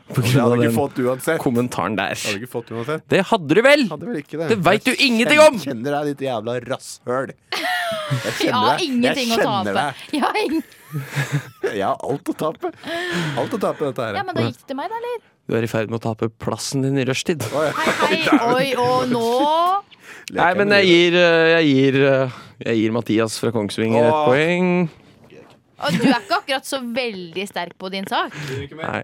På Det grunn hadde av du den ikke fått uansett. kommentaren der. Hadde du ikke fått uansett. Det hadde du vel! Hadde vel ikke det. Det veit du ingenting Jeg om! Kjenner deg, ditt jævla rasshøl. Jeg Jeg kjenner har deg. ingenting å jeg tape. kjenner Jeg har ingen... deg. Jeg har alt å tape. Alt å tape, dette her. Ja, men da gikk det til meg, da, eller? Du er i ferd med å tape plassen din i rushtid. Hei, oi, og nå Nei, men jeg gir, eh, jeg gir, eh, jeg gir Mathias fra Kongsvinger et Åh. poeng. Og du er ikke akkurat så veldig sterk på din sak. Nei,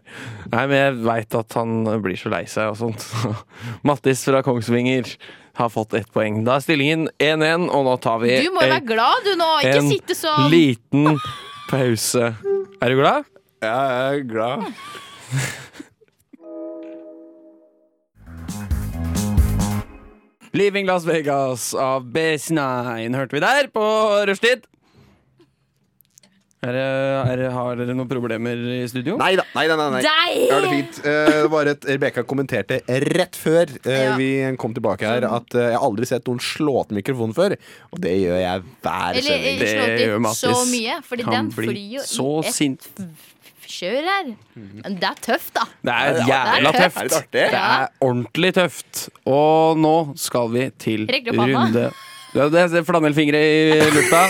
Nei men jeg veit at han blir så lei seg og sånt. Mattis fra Kongsvinger har fått ett poeng. Da er stillingen 1-1, og nå tar vi Du må jo være glad, du nå. Ikke Eh, en sitte sånn. liten pause. Er du glad? Jeg er glad. Leaving Las Vegas av B9 hørte vi der på rushtid. Er, det- er, det- har dere noen problemer i studio? Nei da. Nei, nei, nei, nei. Ja, det er Deg! fint. Eh, det var et, Rebekka kommenterte rett før eh, Ja. vi kom tilbake her, at eh, jeg har aldri sett noen slå til mikrofonen før. Og det gjør jeg hver Eller sending. eh, slå Det gjør til Mattis. så mye, fordi Han den blir flyr jo så i et sint. kjør her. Men det er tøft, da. Det er jævla det er tøft. litt artig. Det er ordentlig tøft. Og nå skal vi til Rekker du opp handa? runde ja, det er Flanellfingre i lufta.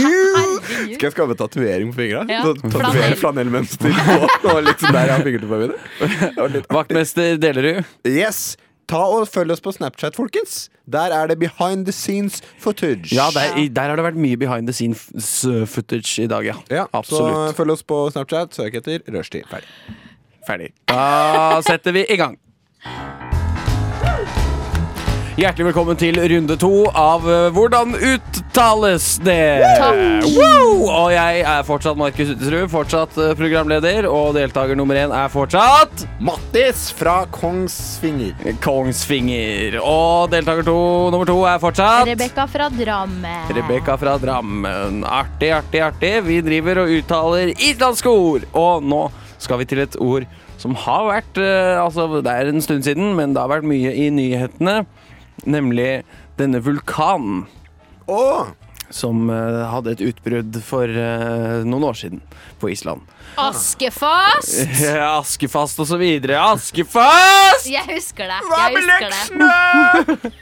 Skal jeg skape tatovering på fingra? Ja. Ja. Tatovere Flanell. flanellmønster og, og litt sånn der jeg har fingrene på mine. Og litt- Vaktmester Delerud. Yes! Ta og Følg oss på Snapchat, folkens. Der er det behind the scenes footage. Ja, der, i- der har det vært mye behind the scenes eh, footage i dag, ja. Ja, Så Absolutt. følg oss på Snapchat. Søk etter Rushtid. Ferdig. Ferdig. Da setter vi i gang. Hjertelig velkommen til runde to av eh, Hvordan uttales det? Takk. Wow! Og jeg er fortsatt Markus Uttesrud, fortsatt eh, programleder, og deltaker nummer én er fortsatt Mattis fra Kongsvinger. Kongsvinger. Og deltaker to, nummer to er fortsatt Rebekka fra Drammen. Rebekka fra Drammen. Artig, artig, artig. Vi driver og uttaler islandske ord. Og nå skal vi til et ord som har vært eh, Altså, det er en stund siden, men det har vært mye i nyhetene. Nemlig denne vulkanen Åh, som eh, hadde et utbrudd for eh, noen år siden på Island. Askefast! Askefast og så videre. Askefast! Jeg husker det. Jeg husker det.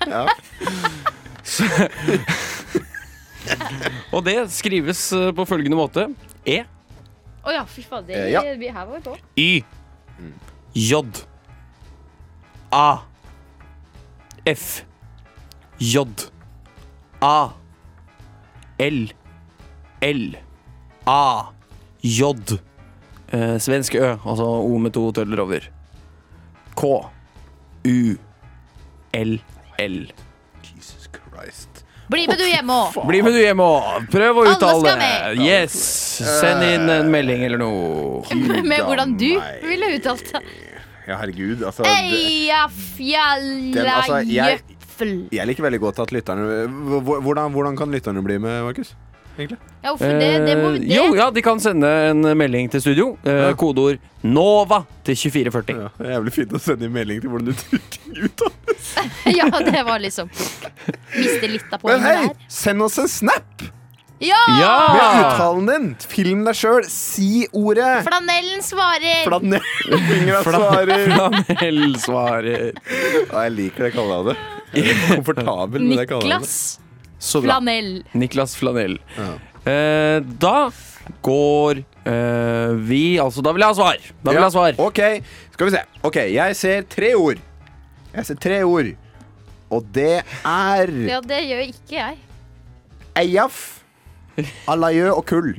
Og det skrives eh, på følgende måte. E. Å ja, fy fader. Eh, ja. Vi- Her var vi på. Y J A F J A L L A J eh, Svensk Ø, altså O med to tøller over K U L L Jesus Christ. Bli med du hjemme òg. Bli med du hjemme og prøv å Alle skal uttale med. Yes, send inn en melding eller noe Med hvordan du meg. ville uttalt det. Ja, herregud. Altså, det- Den, altså, Eiafjalla jeg- jøffel. jeg liker veldig godt at lytterne Hvor- Hvordan, hvordan kan lytterne bli med, Markus? Egentlig? Ja, hvorfor det? Det må vi Eh, det. Jo, ja, de kan sende en melding til studio. Eh, Kodeord NOVA til 2440. Ja, det er jævlig fint å sende en melding til hvordan du tror ting ut av. Ja, det var liksom Miste litt av Men poenget hei, der. send oss en snap Ja! med Ja! uttalen din! Film deg sjøl, si ordet! Flanellen svarer. Flanell fingra svarer. Flanell svarer. Ja, jeg liker det kallenavnet. Jeg er Komfortabel med det kallenavnet. Niklas Så bra. Flanell. Niklas Flanell. Eh, da går eh, vi Altså, da vil jeg ha svar. Da vil jeg ha svar. OK, skal vi se. Ok, Jeg ser tre ord. Jeg ser tre ord. Og det er Ja, det gjør ikke jeg. Eyaf, Alayø og Kull.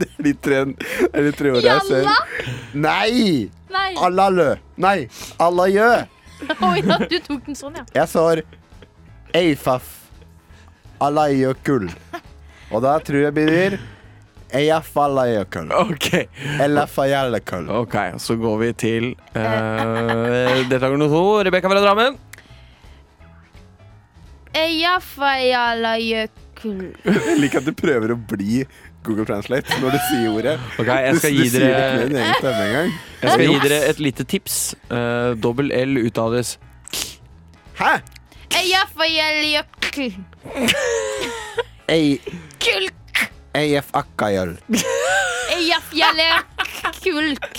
Det er de tre, det er de tre ordene jeg ser. Jalla! Nei! Nei. Alalø. Nei, Alayø. Oi, ja, du tok den sånn, ja. Jeg sår Eifaf, Alayø og Kull. Og da tror jeg blir Eyaf, Alayø og Kull. OK, Elafayalle Kull. Ok, så går vi til eh, deltaker nummer to, Rebekka fra Drammen. Eyafajalajökull. Jeg liker at du prøver å bli Google Translate når du sier ordet. Ok, jeg skal du, gi du sier det dere- ikke med din egen stemme engang. Jeg skal gi dere et lite tips. Eh, Dobbel L uttales Hæ? Eyjafjallajökull. Kulk. AF Akkajal. Eyjafjallajökulk.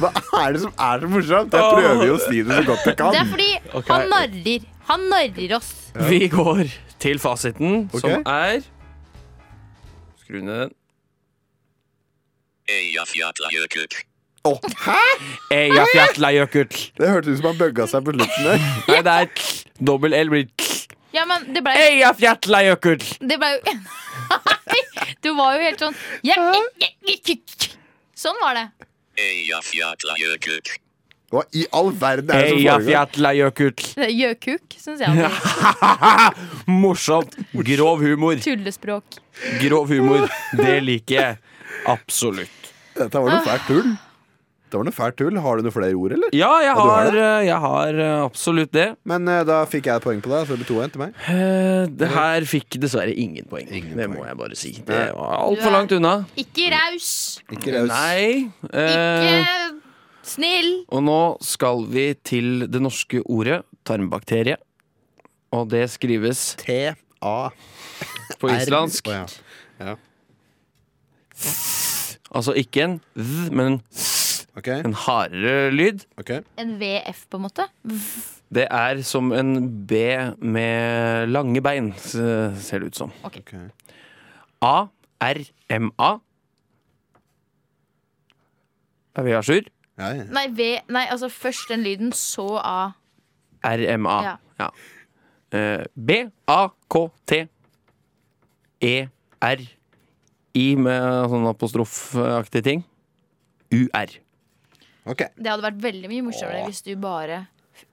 Hva er det som er så morsomt? Jeg prøver jo å si det så godt jeg Det er kan. fordi Ok. han narrer. Han narrer oss. Vi går til fasiten, Ok. som er Skru ned den. Eyjafjallajökull. Å, hæ? Eyjafjallajökull. Det hørtes ut som han bugga seg på slutten der. Nei, det er dobbel L blir Ja, men det ble, Eyjafjallajökull. det ble jo Nei, Du var jo helt sånn ja, ja, ja, ja, ja, ja. Sånn var det. Eyjafjallajökull. Hva i all verden er det som foregår? Eyjafjallajökull. Det er Gjøkuk, syns jeg. Morsomt. Grov humor. Tullespråk. Grov humor. Det liker jeg. Absolutt. Dette Ah. var noe fælt tull. Det var noe fælt tull. Har du noe flere ord, eller? Ja, jeg du har har, eh, jeg har eh, absolutt det. Men eh, da fikk jeg et poeng på deg, så det blir 2-1 til meg. Eh, Det her fikk dessverre ingen poeng. det må jeg bare si. Det var altfor langt unna. Ikke raus. Ikke raus. Nei. eh, Ikke snill. og nå skal vi til det norske ordet tarmbakterie. Og det skrives T-A. på islandsk. Å, ja. Altså ikke en v, men en s, Ok, en hardere lyd. ok. En VF, på en måte. Det er som en B med lange bein, s- ser det ut som. ok. A-R-M-A. Er vi à jour? Ja, ja. Nei, v, nei, altså først den lyden, så A. R-M-A. Ja. Ja. Eh, B-A-K-T. E-R. E I med sånn apostrofaktig ting. U-R. Ok. Det hadde vært veldig mye morsommere hvis du bare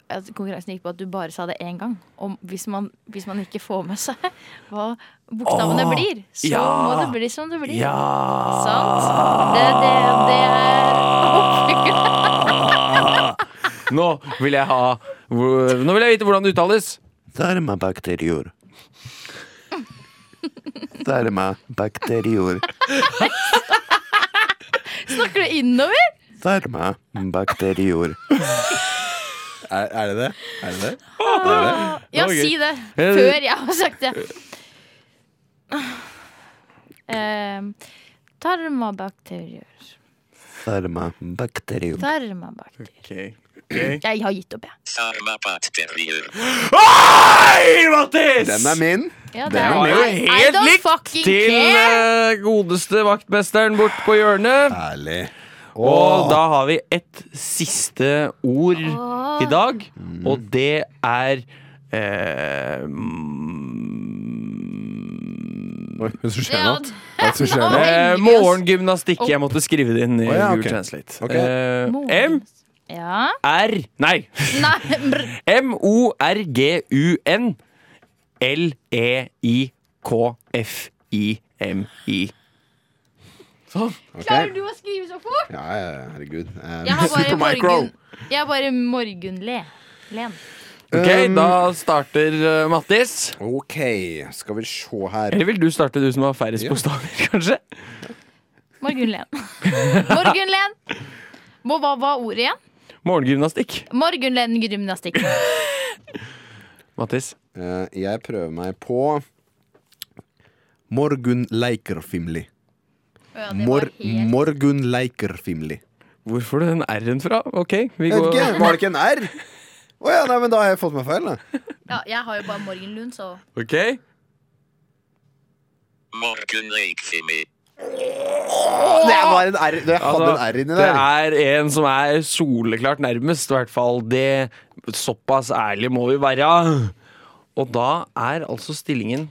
at konkurransen gikk på at du bare sa det én gang. Om, hvis, man, hvis man ikke får med seg hva bokstavene Åh, blir, så må ja. det bli som det blir. Ja! Sant? Det, det, det er Nå vil jeg ha Nå vil jeg vite hvordan det uttales. Tarmabakterior. Tarmabakterior. Snakker du innover? Tarmabakterior. Er, er det det? Er det det? Ja, Det var gøy. si det før jeg har sagt det. Ehm, tarmabakterier. Tarmabakterior. Tarmabakterier. Jeg har gitt opp, jeg. Tarmabakterior. Hei, Mattis! Den er min. Ja, Det var jo I- I helt don't likt fucking Til care. eh, godeste vaktmesteren bort på hjørnet. Herlig. Og da har vi et siste ord i dag, og det er eh, Oi, hva er det som skjer Ja, nå? Hva er det som skjer nå? eh, morgymnastikk. Jeg måtte skrive det inn i Å, ja, Google ok. Translate. Ok. Eh, M, ja. R Nei! Nei, brr. M-O-R-G-U-N E L-E-I-K-F-I-M-I. Ok. klarer du å skrive så fort? Ja, ja, ja, herregud. Eh, Jeg har bare Super Micro. morgen... Jeg har bare morgenle. Len. Ok, Um, da starter eh, Mattis. Ok, skal vi se her. Eller vil du starte, du som har færrest Ja. bokstaver, kanskje? Morgenlen. Morgenlen. Må, hva var ordet igjen? Morgengymnastikk. Morgenlen gymnastikk. Mattis. Eh, jeg prøver meg på Morgun Leikerfimli. Ja, det var Mor helt- Morgun Leikerfimli. Hvor får du den R-en fra? Ok, vi Jeg vet går ikke, var det ikke en R? Å ja, nei, men da har jeg fått meg feil, da. ja, jeg har jo bare Morgenlund, så Ok, Morgunleikfimi. Det var en R. Det hadde altså, en R inni Det der. er en som er soleklart nærmest, i hvert fall. Det, såpass ærlig må vi være. Og da er altså stillingen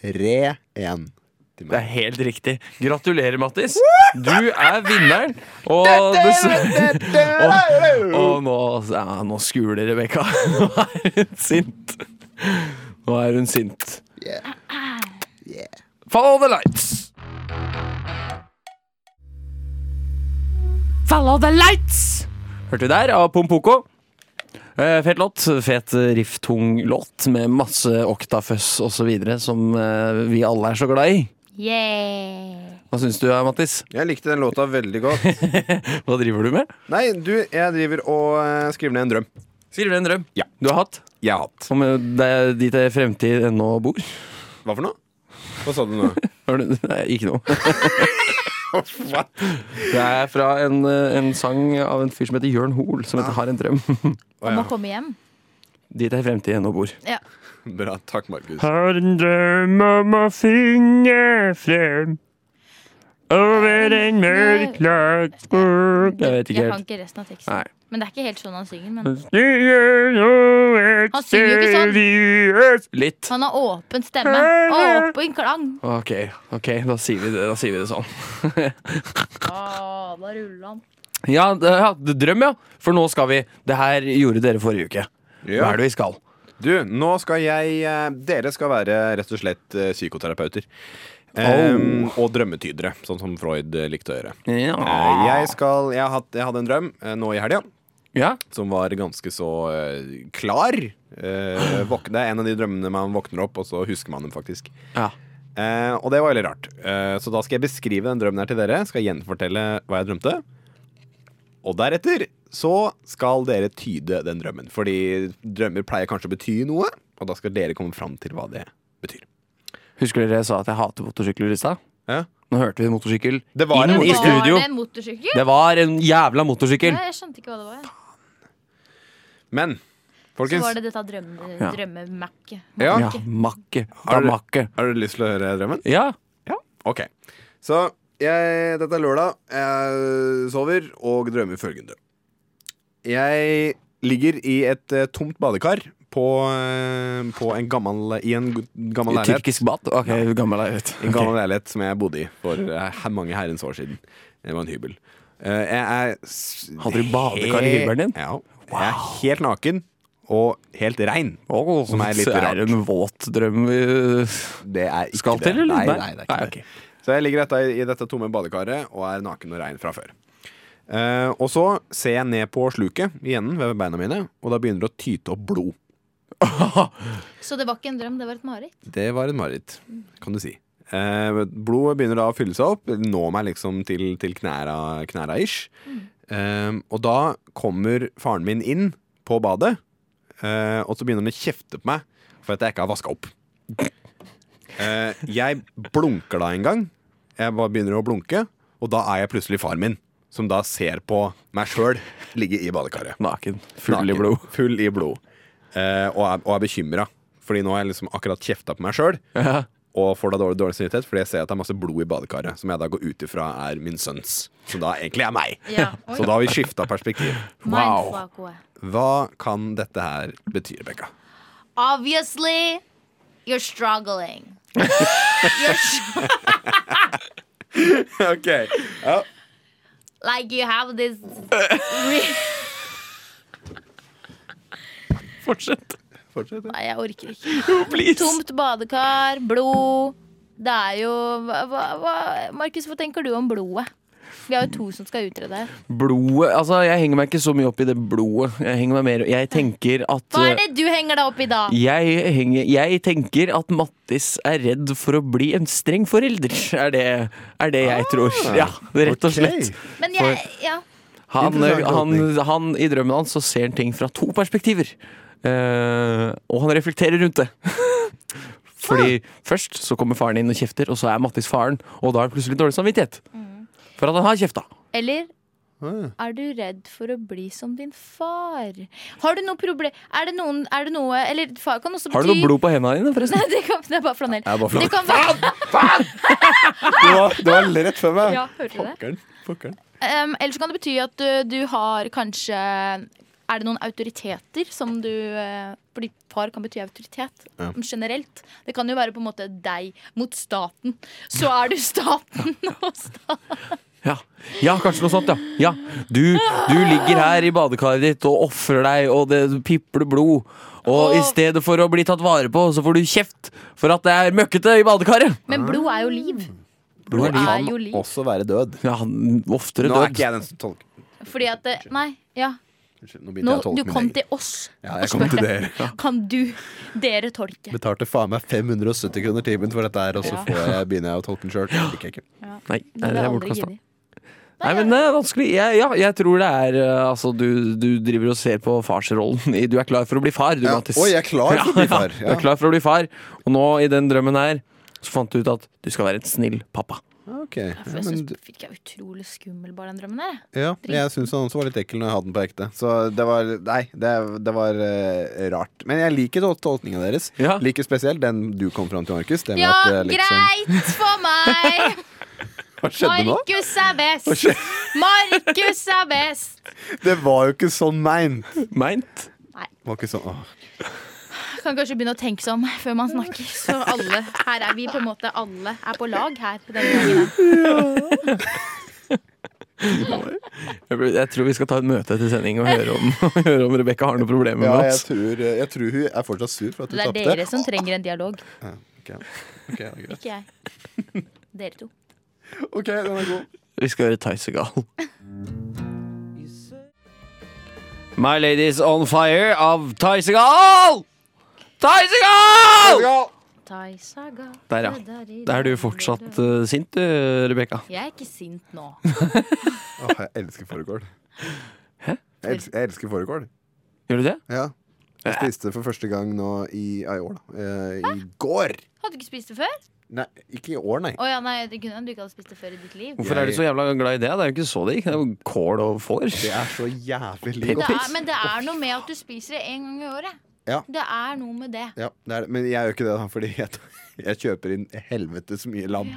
3-1 til Det meg. er helt riktig. Gratulerer, Mattis. Du er vinneren. Og, dessverre- og, og nå, ja, nå skuler Rebekka. Nå er hun sint. Nå er hun sint. Yeah. Yeah. Follow the lights. Follow the lights! Hørte vi der av Pompoko. Eh, fet låt. Fet eh, riff-tung låt med masse oktaføss osv. som eh, vi alle er så glad i. Yeah. Hva syns du, Mattis? Jeg likte den låta veldig godt. Hva driver du med? Nei, du, jeg driver og eh, skriver ned en drøm. Skriver du en drøm Ja. du har hatt, Jeg har hatt. som eh, det er dit ei fremtid ennå bor? Hva for noe? Hva sa du nå? Har du- Nei, ikke noe. Det er fra en, eh, en sang av en fyr som heter Jørn Hoel, som heter 'Har en drøm'. Å, Om ja. å komme hjem. Dit ei fremtid ennå bor. Ja. Bra. Takk, Markus. Har en drøm om å finne frem over en mørk lagskog Jeg vet ikke Jeg kan helt. ikke resten av teksten. Nei. Men det er ikke helt sånn han synger. Men Han Han synger jo ikke sånn. Litt. han har åpen stemme. Og åpen klang. Ok, ok, da sier vi det, da sier vi det sånn. Ah, da ruller han. Ja, det- ja, drøm, ja. For nå skal vi Det her gjorde dere forrige uke. Hva er det vi skal? Du, nå skal jeg eh, Dere skal være rett og slett eh, psykoterapeuter. Em, og drømmetydere, sånn som Freud eh, likte å gjøre. Eh, Ja. Jeg, skal, jeg, har hatt, jeg hadde en drøm eh, nå i helga ja. som var ganske så eh, klar. Eh, våk- det er en av de drømmene man våkner opp, og så husker man dem faktisk. ja. Eh, og det var veldig rart. Eh, så da skal jeg beskrive den drømmen her til dere. Skal gjenfortelle hva jeg drømte. Og deretter så skal dere tyde den drømmen. Fordi drømmer pleier kanskje å bety noe, og da skal dere komme fram til hva det betyr. Husker dere jeg sa at jeg hater motorsykler i stad? Ja. Nå hørte vi en motorsykkel. Det var Inn en Var i motorsykkel. studio. det en motorsykkel? Det var en jævla motorsykkel! Ja, jeg skjønte ikke hva det var. Men Så folkens, var det dette drømme, Ja. drømmemacket. Ja. Ja, makke. Da Har du- makke. har dere lyst til å høre drømmen? Ja. Ok. Så jeg, dette er lørdag. Jeg sover og drømmer følgende. Jeg ligger i et eh, tomt badekar på, eh, på en gammel, i en g- gammel leilighet. Tyrkisk bad. Ok, gammel leilighet. En gammel leilighet som jeg bodde i for eh, her- mange herrens år siden. Det var en hybel. Eh, Jeg er s- Hadde du badekar i he- hybelen din? Ja. Jeg er helt naken og helt rein. Åh, Som er litt så er det en våt drøm vi Det er ikke skal det. til, eller? Nei, nei, det er ikke det. ok. Så jeg ligger dette, i dette tomme badekaret og er naken og rein fra før. Eh, og så ser jeg ned på sluket i enden ved beina mine, og da begynner det å tyte opp blod. Så det var ikke en drøm, det var et mareritt. Det var et mareritt, kan du si. Eh, blodet begynner da å fylle seg opp, nå meg liksom til, til knæra, knæra ish. Eh, og da kommer faren min inn på badet, eh, og så begynner han å kjefte på meg for at jeg ikke har vaska opp. Eh, jeg blunker da en gang. Jeg bare begynner å blunke, og da er jeg plutselig faren min, som da ser på meg sjøl ligge i badekaret. Naken. Full i Naken, blod. Full i blod. Eh, og er, og er bekymra. Fordi nå har jeg liksom akkurat kjefta på meg sjøl, Ja. og får da dårlig, dårlig samvittighet fordi jeg ser at det er masse blod i badekaret, som jeg da går ut ifra er min sønns. Som da egentlig er meg. Ja. Oi. Så da har vi skifta perspektiv. Mindfuck, wow. Hva kan dette her bety, Rebekka? Obviously, you're struggling. You're str- OK. Ja. like you have this re- Fortsett. Fortsett. Nei, jeg orker ikke. Please. Tomt badekar, blod. Det er jo hva, hva- hva, Markus, hva tenker du om blodet? Vi har jo to som skal utrede her. Blodet Altså, jeg henger meg ikke så mye opp i det blodet. Jeg henger meg mer Jeg tenker at eh, Hva er det du henger deg opp i da? jeg, henger, jeg tenker at Mattis er redd for å bli en streng forelder, er det, er det jeg tror. Ah, Ja, rett og slett. eh, Men jeg, ja, Han, Interessant han, holdning. han, I drømmen hans så ser han ting fra to perspektiver. Eh, og han reflekterer rundt det. Fordi Ah. først så kommer faren inn og kjefter, og så er Mattis faren. Og da er det plutselig dårlig samvittighet. Mm. For at han har kjefta. Eller Ah. er du redd for å bli som din far? Har du noe problem Er det noen er det noe, Eller far kan også bety Har du noe blod på hendene dine, forresten? Nei, det, kan, det er bare flanell. er bare Det kan være, Det var, det var rett før meg. ja, hørte du det? Fuckeren. Fuckeren. Um, eller så kan det bety at uh, du har kanskje Er det noen autoriteter som du uh, Fordi far kan bety autoritet Ja. generelt. Det kan jo være på en måte deg mot staten. Så er du staten og staten. Ja. ja, kanskje noe sånt, ja. ja. Du, du ligger her i badekaret ditt og ofrer deg, og det pipler blod. Og i stedet for å bli tatt vare på, så får du kjeft for at det er møkkete i badekaret. Men blod er jo liv. Blod er liv. er jo liv. Også være død. Ja, han- oftere Nå er død. ikke jeg den som tolker. Fordi at det, Nei, ja. Unnskyld, nå begynte Nå, jeg å du tolke min kom egen. til oss Ja, og jeg kom til spurte dere. Kan du, dere tolke. Betalte faen meg 570 kroner timen for dette her, og så Ja. får jeg, begynner jeg å tolke den sjøl. Liker jeg ikke. Nei, Det det hadde er jeg aldri bortkasta. giddet. Nei, men det er vanskelig. Jeg, ja, jeg tror det er eh, Altså, du, du driver og ser på farsrollen. i- Du er klar for å bli far, du, Ja. Mattis. Oi, jeg er klar for å bli far. Du er klar for å bli far. Og nå, i den drømmen her, så fant du ut at du skal være et snill pappa. Ok, ja, For jeg men, synes, fikk jeg utrolig skummel bare den drømmen der. ja, jeg syns han også var litt ekkel når jeg hadde den på ekte. Så det var Nei, det, det var eh, rart. Men jeg liker tol- tolkninga deres. Ja. Liker spesielt den du kom fram til, Markus. Det med Ja, at, eh, liksom, greit for meg! hva skjedde nå? Markus er best! Markus er best! Det var jo ikke sånn meint. Meint. Det Var ikke sånn, åh. Jeg Kan kanskje begynne å tenke seg om før man snakker. Så alle her er vi på en måte Alle er på lag her. Denne gangen her. Jeg blir- jeg tror vi skal ta et møte etter sending og høre om, og høre om Rebekka har noen problemer med Ja, jeg oss. tror, eh, jeg tror hun er fortsatt sur for at hun Det er tapte. dere som trenger en dialog, Ok, Ok, det er greit. ikke jeg. Dere to. Ok, den er god. Vi skal høre Theis og Gal. My Ladies On Fire av Theis og Gal! Theis og Gal! Der, ja. Da er du fortsatt eh, sint, du, Rebekka. Jeg er ikke sint nå. Åh, jeg elsker fårikål. Jeg elsker, jeg elsker fårikål. Gjør du det? Ja. Jeg spiste for første gang nå i, ja, i år, da. Eh, I går! Hadde du ikke spist det før? Nei, ikke i år, nei. Å ja, nei, det kunne hende du ikke hadde spist det før i ditt liv. Hvorfor er du så jævla glad i det? Det er jo ikke så digg. Det er jo kål og får. Det er så jævlig Det godt. er, men det er noe med at du spiser det en gang i året. Ja. Det er noe med det. Ja, det er det. Men jeg gjør ikke det, da, fordi jeg, jeg kjøper inn helvetes mye lam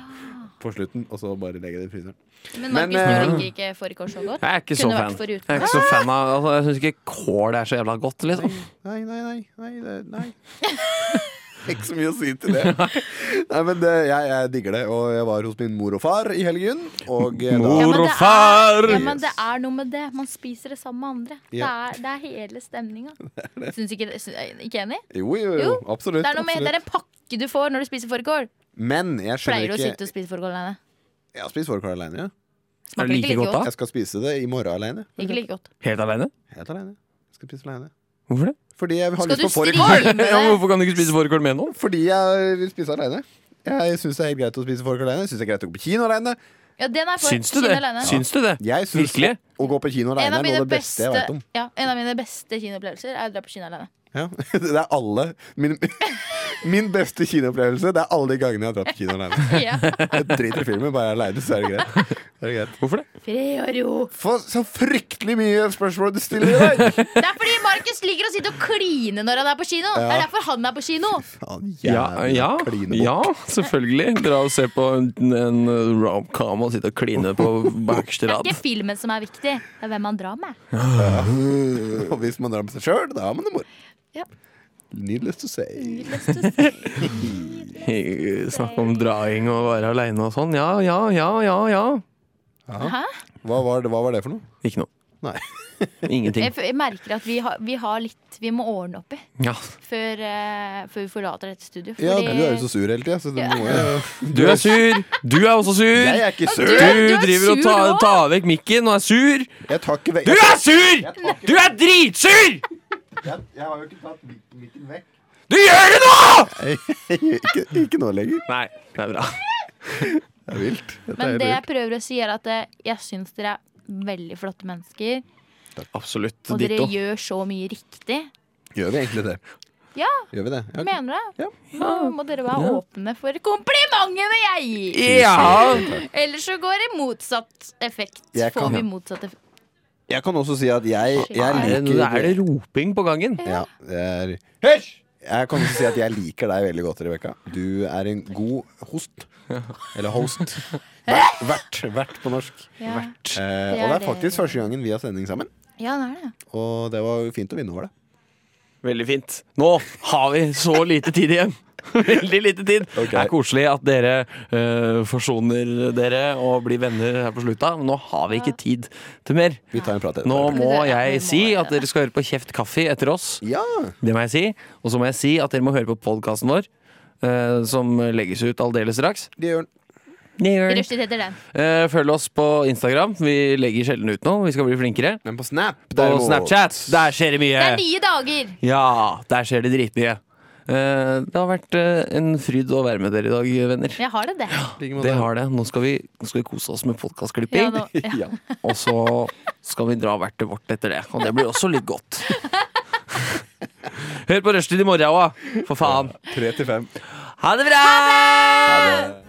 på slutten, og så bare legger jeg det i fryseren. Men Men, Markus, du eh, liker ikke fårikål så godt. Jeg er ikke så Kunne fan. vært foruten. Jeg er ikke så fan av altså, Jeg syns ikke kål er så jævla godt, liksom. Nei, nei, nei. nei, det, nei. Ikke så mye å si til det. Nei, men det, jeg, jeg digger det. Og jeg var hos min mor og far i helgen. Og eh, Ja, Mor men og det far! Er, ja, men det er noe med det. Man spiser det sammen med andre. Ja. Det, er, det er hele stemninga. Syns ikke det? Syns, ikke enig? da Jo, jo, jo. Jo, Absolutt. Det er, noe med, det absolutt. er en pakke du får når du spiser fårikål. Men jeg Pleier du skjønner å sitte ikke og spise fårikål alene? Jeg har spist fårikål alene. Ja. Er det like godt da? Jeg skal spise det i morgen alene. Ikke like godt. Helt aleine? Helt alene. Jeg skal spise alene. Hvorfor det? Fordi jeg har Skal lyst du på fårikål. streame Ja, men det? hvorfor kan du ikke spise fårikål med noen? Fordi jeg vil spise alene. Jeg syns det er helt greit å spise fårikål alene. Jeg syns det er greit å gå på kino alene. Ja, den er for. Syns du Kinn det? alene. Syns du det? Jeg synes Virkelig? Å gå på En kino alene av er noe mine av det beste beste, jeg veit om. ja, en av mine beste kinoopplevelser er å dra på kino alene. Ja. Det er alle Min, min beste kinoopplevelse Det er alle de gangene jeg har dratt på kino alene. Ja. Jeg driter i filmen, bare jeg er aleine, så er det greit. Det er greit. Hvorfor det? Fred og ro. For så fryktelig mye spørsmål du stiller i dag! Det er fordi Markus liker å sitte og kline når han er på kino. Det er derfor han er på kino. Faen, Ja, jævla ja, klinebukk. ja, selvfølgelig. Dra og se på en, en romcom og sitte og kline på bakerste Det er rad. ikke filmen som er viktig, det er hvem han drar med. Og hvis man drar med seg sjøl, da har man det moro. Ja. Needless to say. Snakk om draing og være aleine og sånn. Ja, ja, ja, ja. ja. Hæ? Hva var, det, hva var det for noe? Ikke noe. Nei. Ingenting. Jeg, f- jeg merker at vi har, vi har litt vi må ordne opp i Ja. før, eh, før vi forlater dette studioet. Ja, du er jo så sur hele tida, så det må jo Du er sur! Du er også Jeg sur! er ikke sur! Du er- Du du er driver og sur tar, nå. tar vekk mikken og er sur! Jeg tar ikke vekk Du er sur! Du er dritsur! Jeg, jeg har jo ikke tatt mikken vekk. Du gjør det nå! ikke, ikke nå lenger. Nei, det er bra. Det er vilt. Dette Men er det jeg helt vilt. prøver å si, er at eh, jeg syns dere er veldig flotte mennesker. Absolutt. Og dere Ditto. gjør så mye riktig. Gjør vi egentlig det? Ja, Gjør vi det? Ja, mener det. Ja. Nå må dere være åpne for komplimentene jeg gir. Ja! Ellers så går det motsatt effekt. Jeg Får kan- vi motsatt effekt. Jeg kan også si at jeg, jeg Er det, liker er det roping på gangen? Ja, det er Hysj! Jeg kan også si at jeg liker deg veldig godt, Rebekka. Du er en god host. Eller host. Vert, vert, vert på norsk. Ja. Eh, Det og det er er det. faktisk første gangen vi har sending sammen. ja, det er det. Og det var fint å vinne over det. Veldig fint. Nå har vi så lite tid igjen. Veldig lite tid. Ok. Det er koselig at dere eh, forsoner dere og blir venner her på slutta. Men nå har vi ikke tid til mer. Vi tar en prat etterpå. Nå Ja, må vi må jeg si gjøre at dere skal høre på Kjeft kaffe etter oss. Ja! Det må jeg si. Og så må jeg si at dere må høre på podkasten vår, eh, som legges ut aldeles straks. Det gjør den. Rushtid heter den. Eh, Følg oss på Instagram. Vi legger sjelden ut noe. Vi skal bli flinkere. Men på Snap, På Snapchat. Der skjer det mye. Det er nye dager! Ja, der skjer det dritmye. Eh, Det har vært eh, en fryd å være med dere i dag, venner. Jeg har det, det. Det har det. Nå skal vi, nå skal vi kose oss med Ja, podkastklipping. nå, ja. Og så skal vi dra hvert til vårt etter det. Og det blir også litt godt. Hør på Rushtid i morgen òg, for faen. Tre til fem. Ha det bra! Ha det.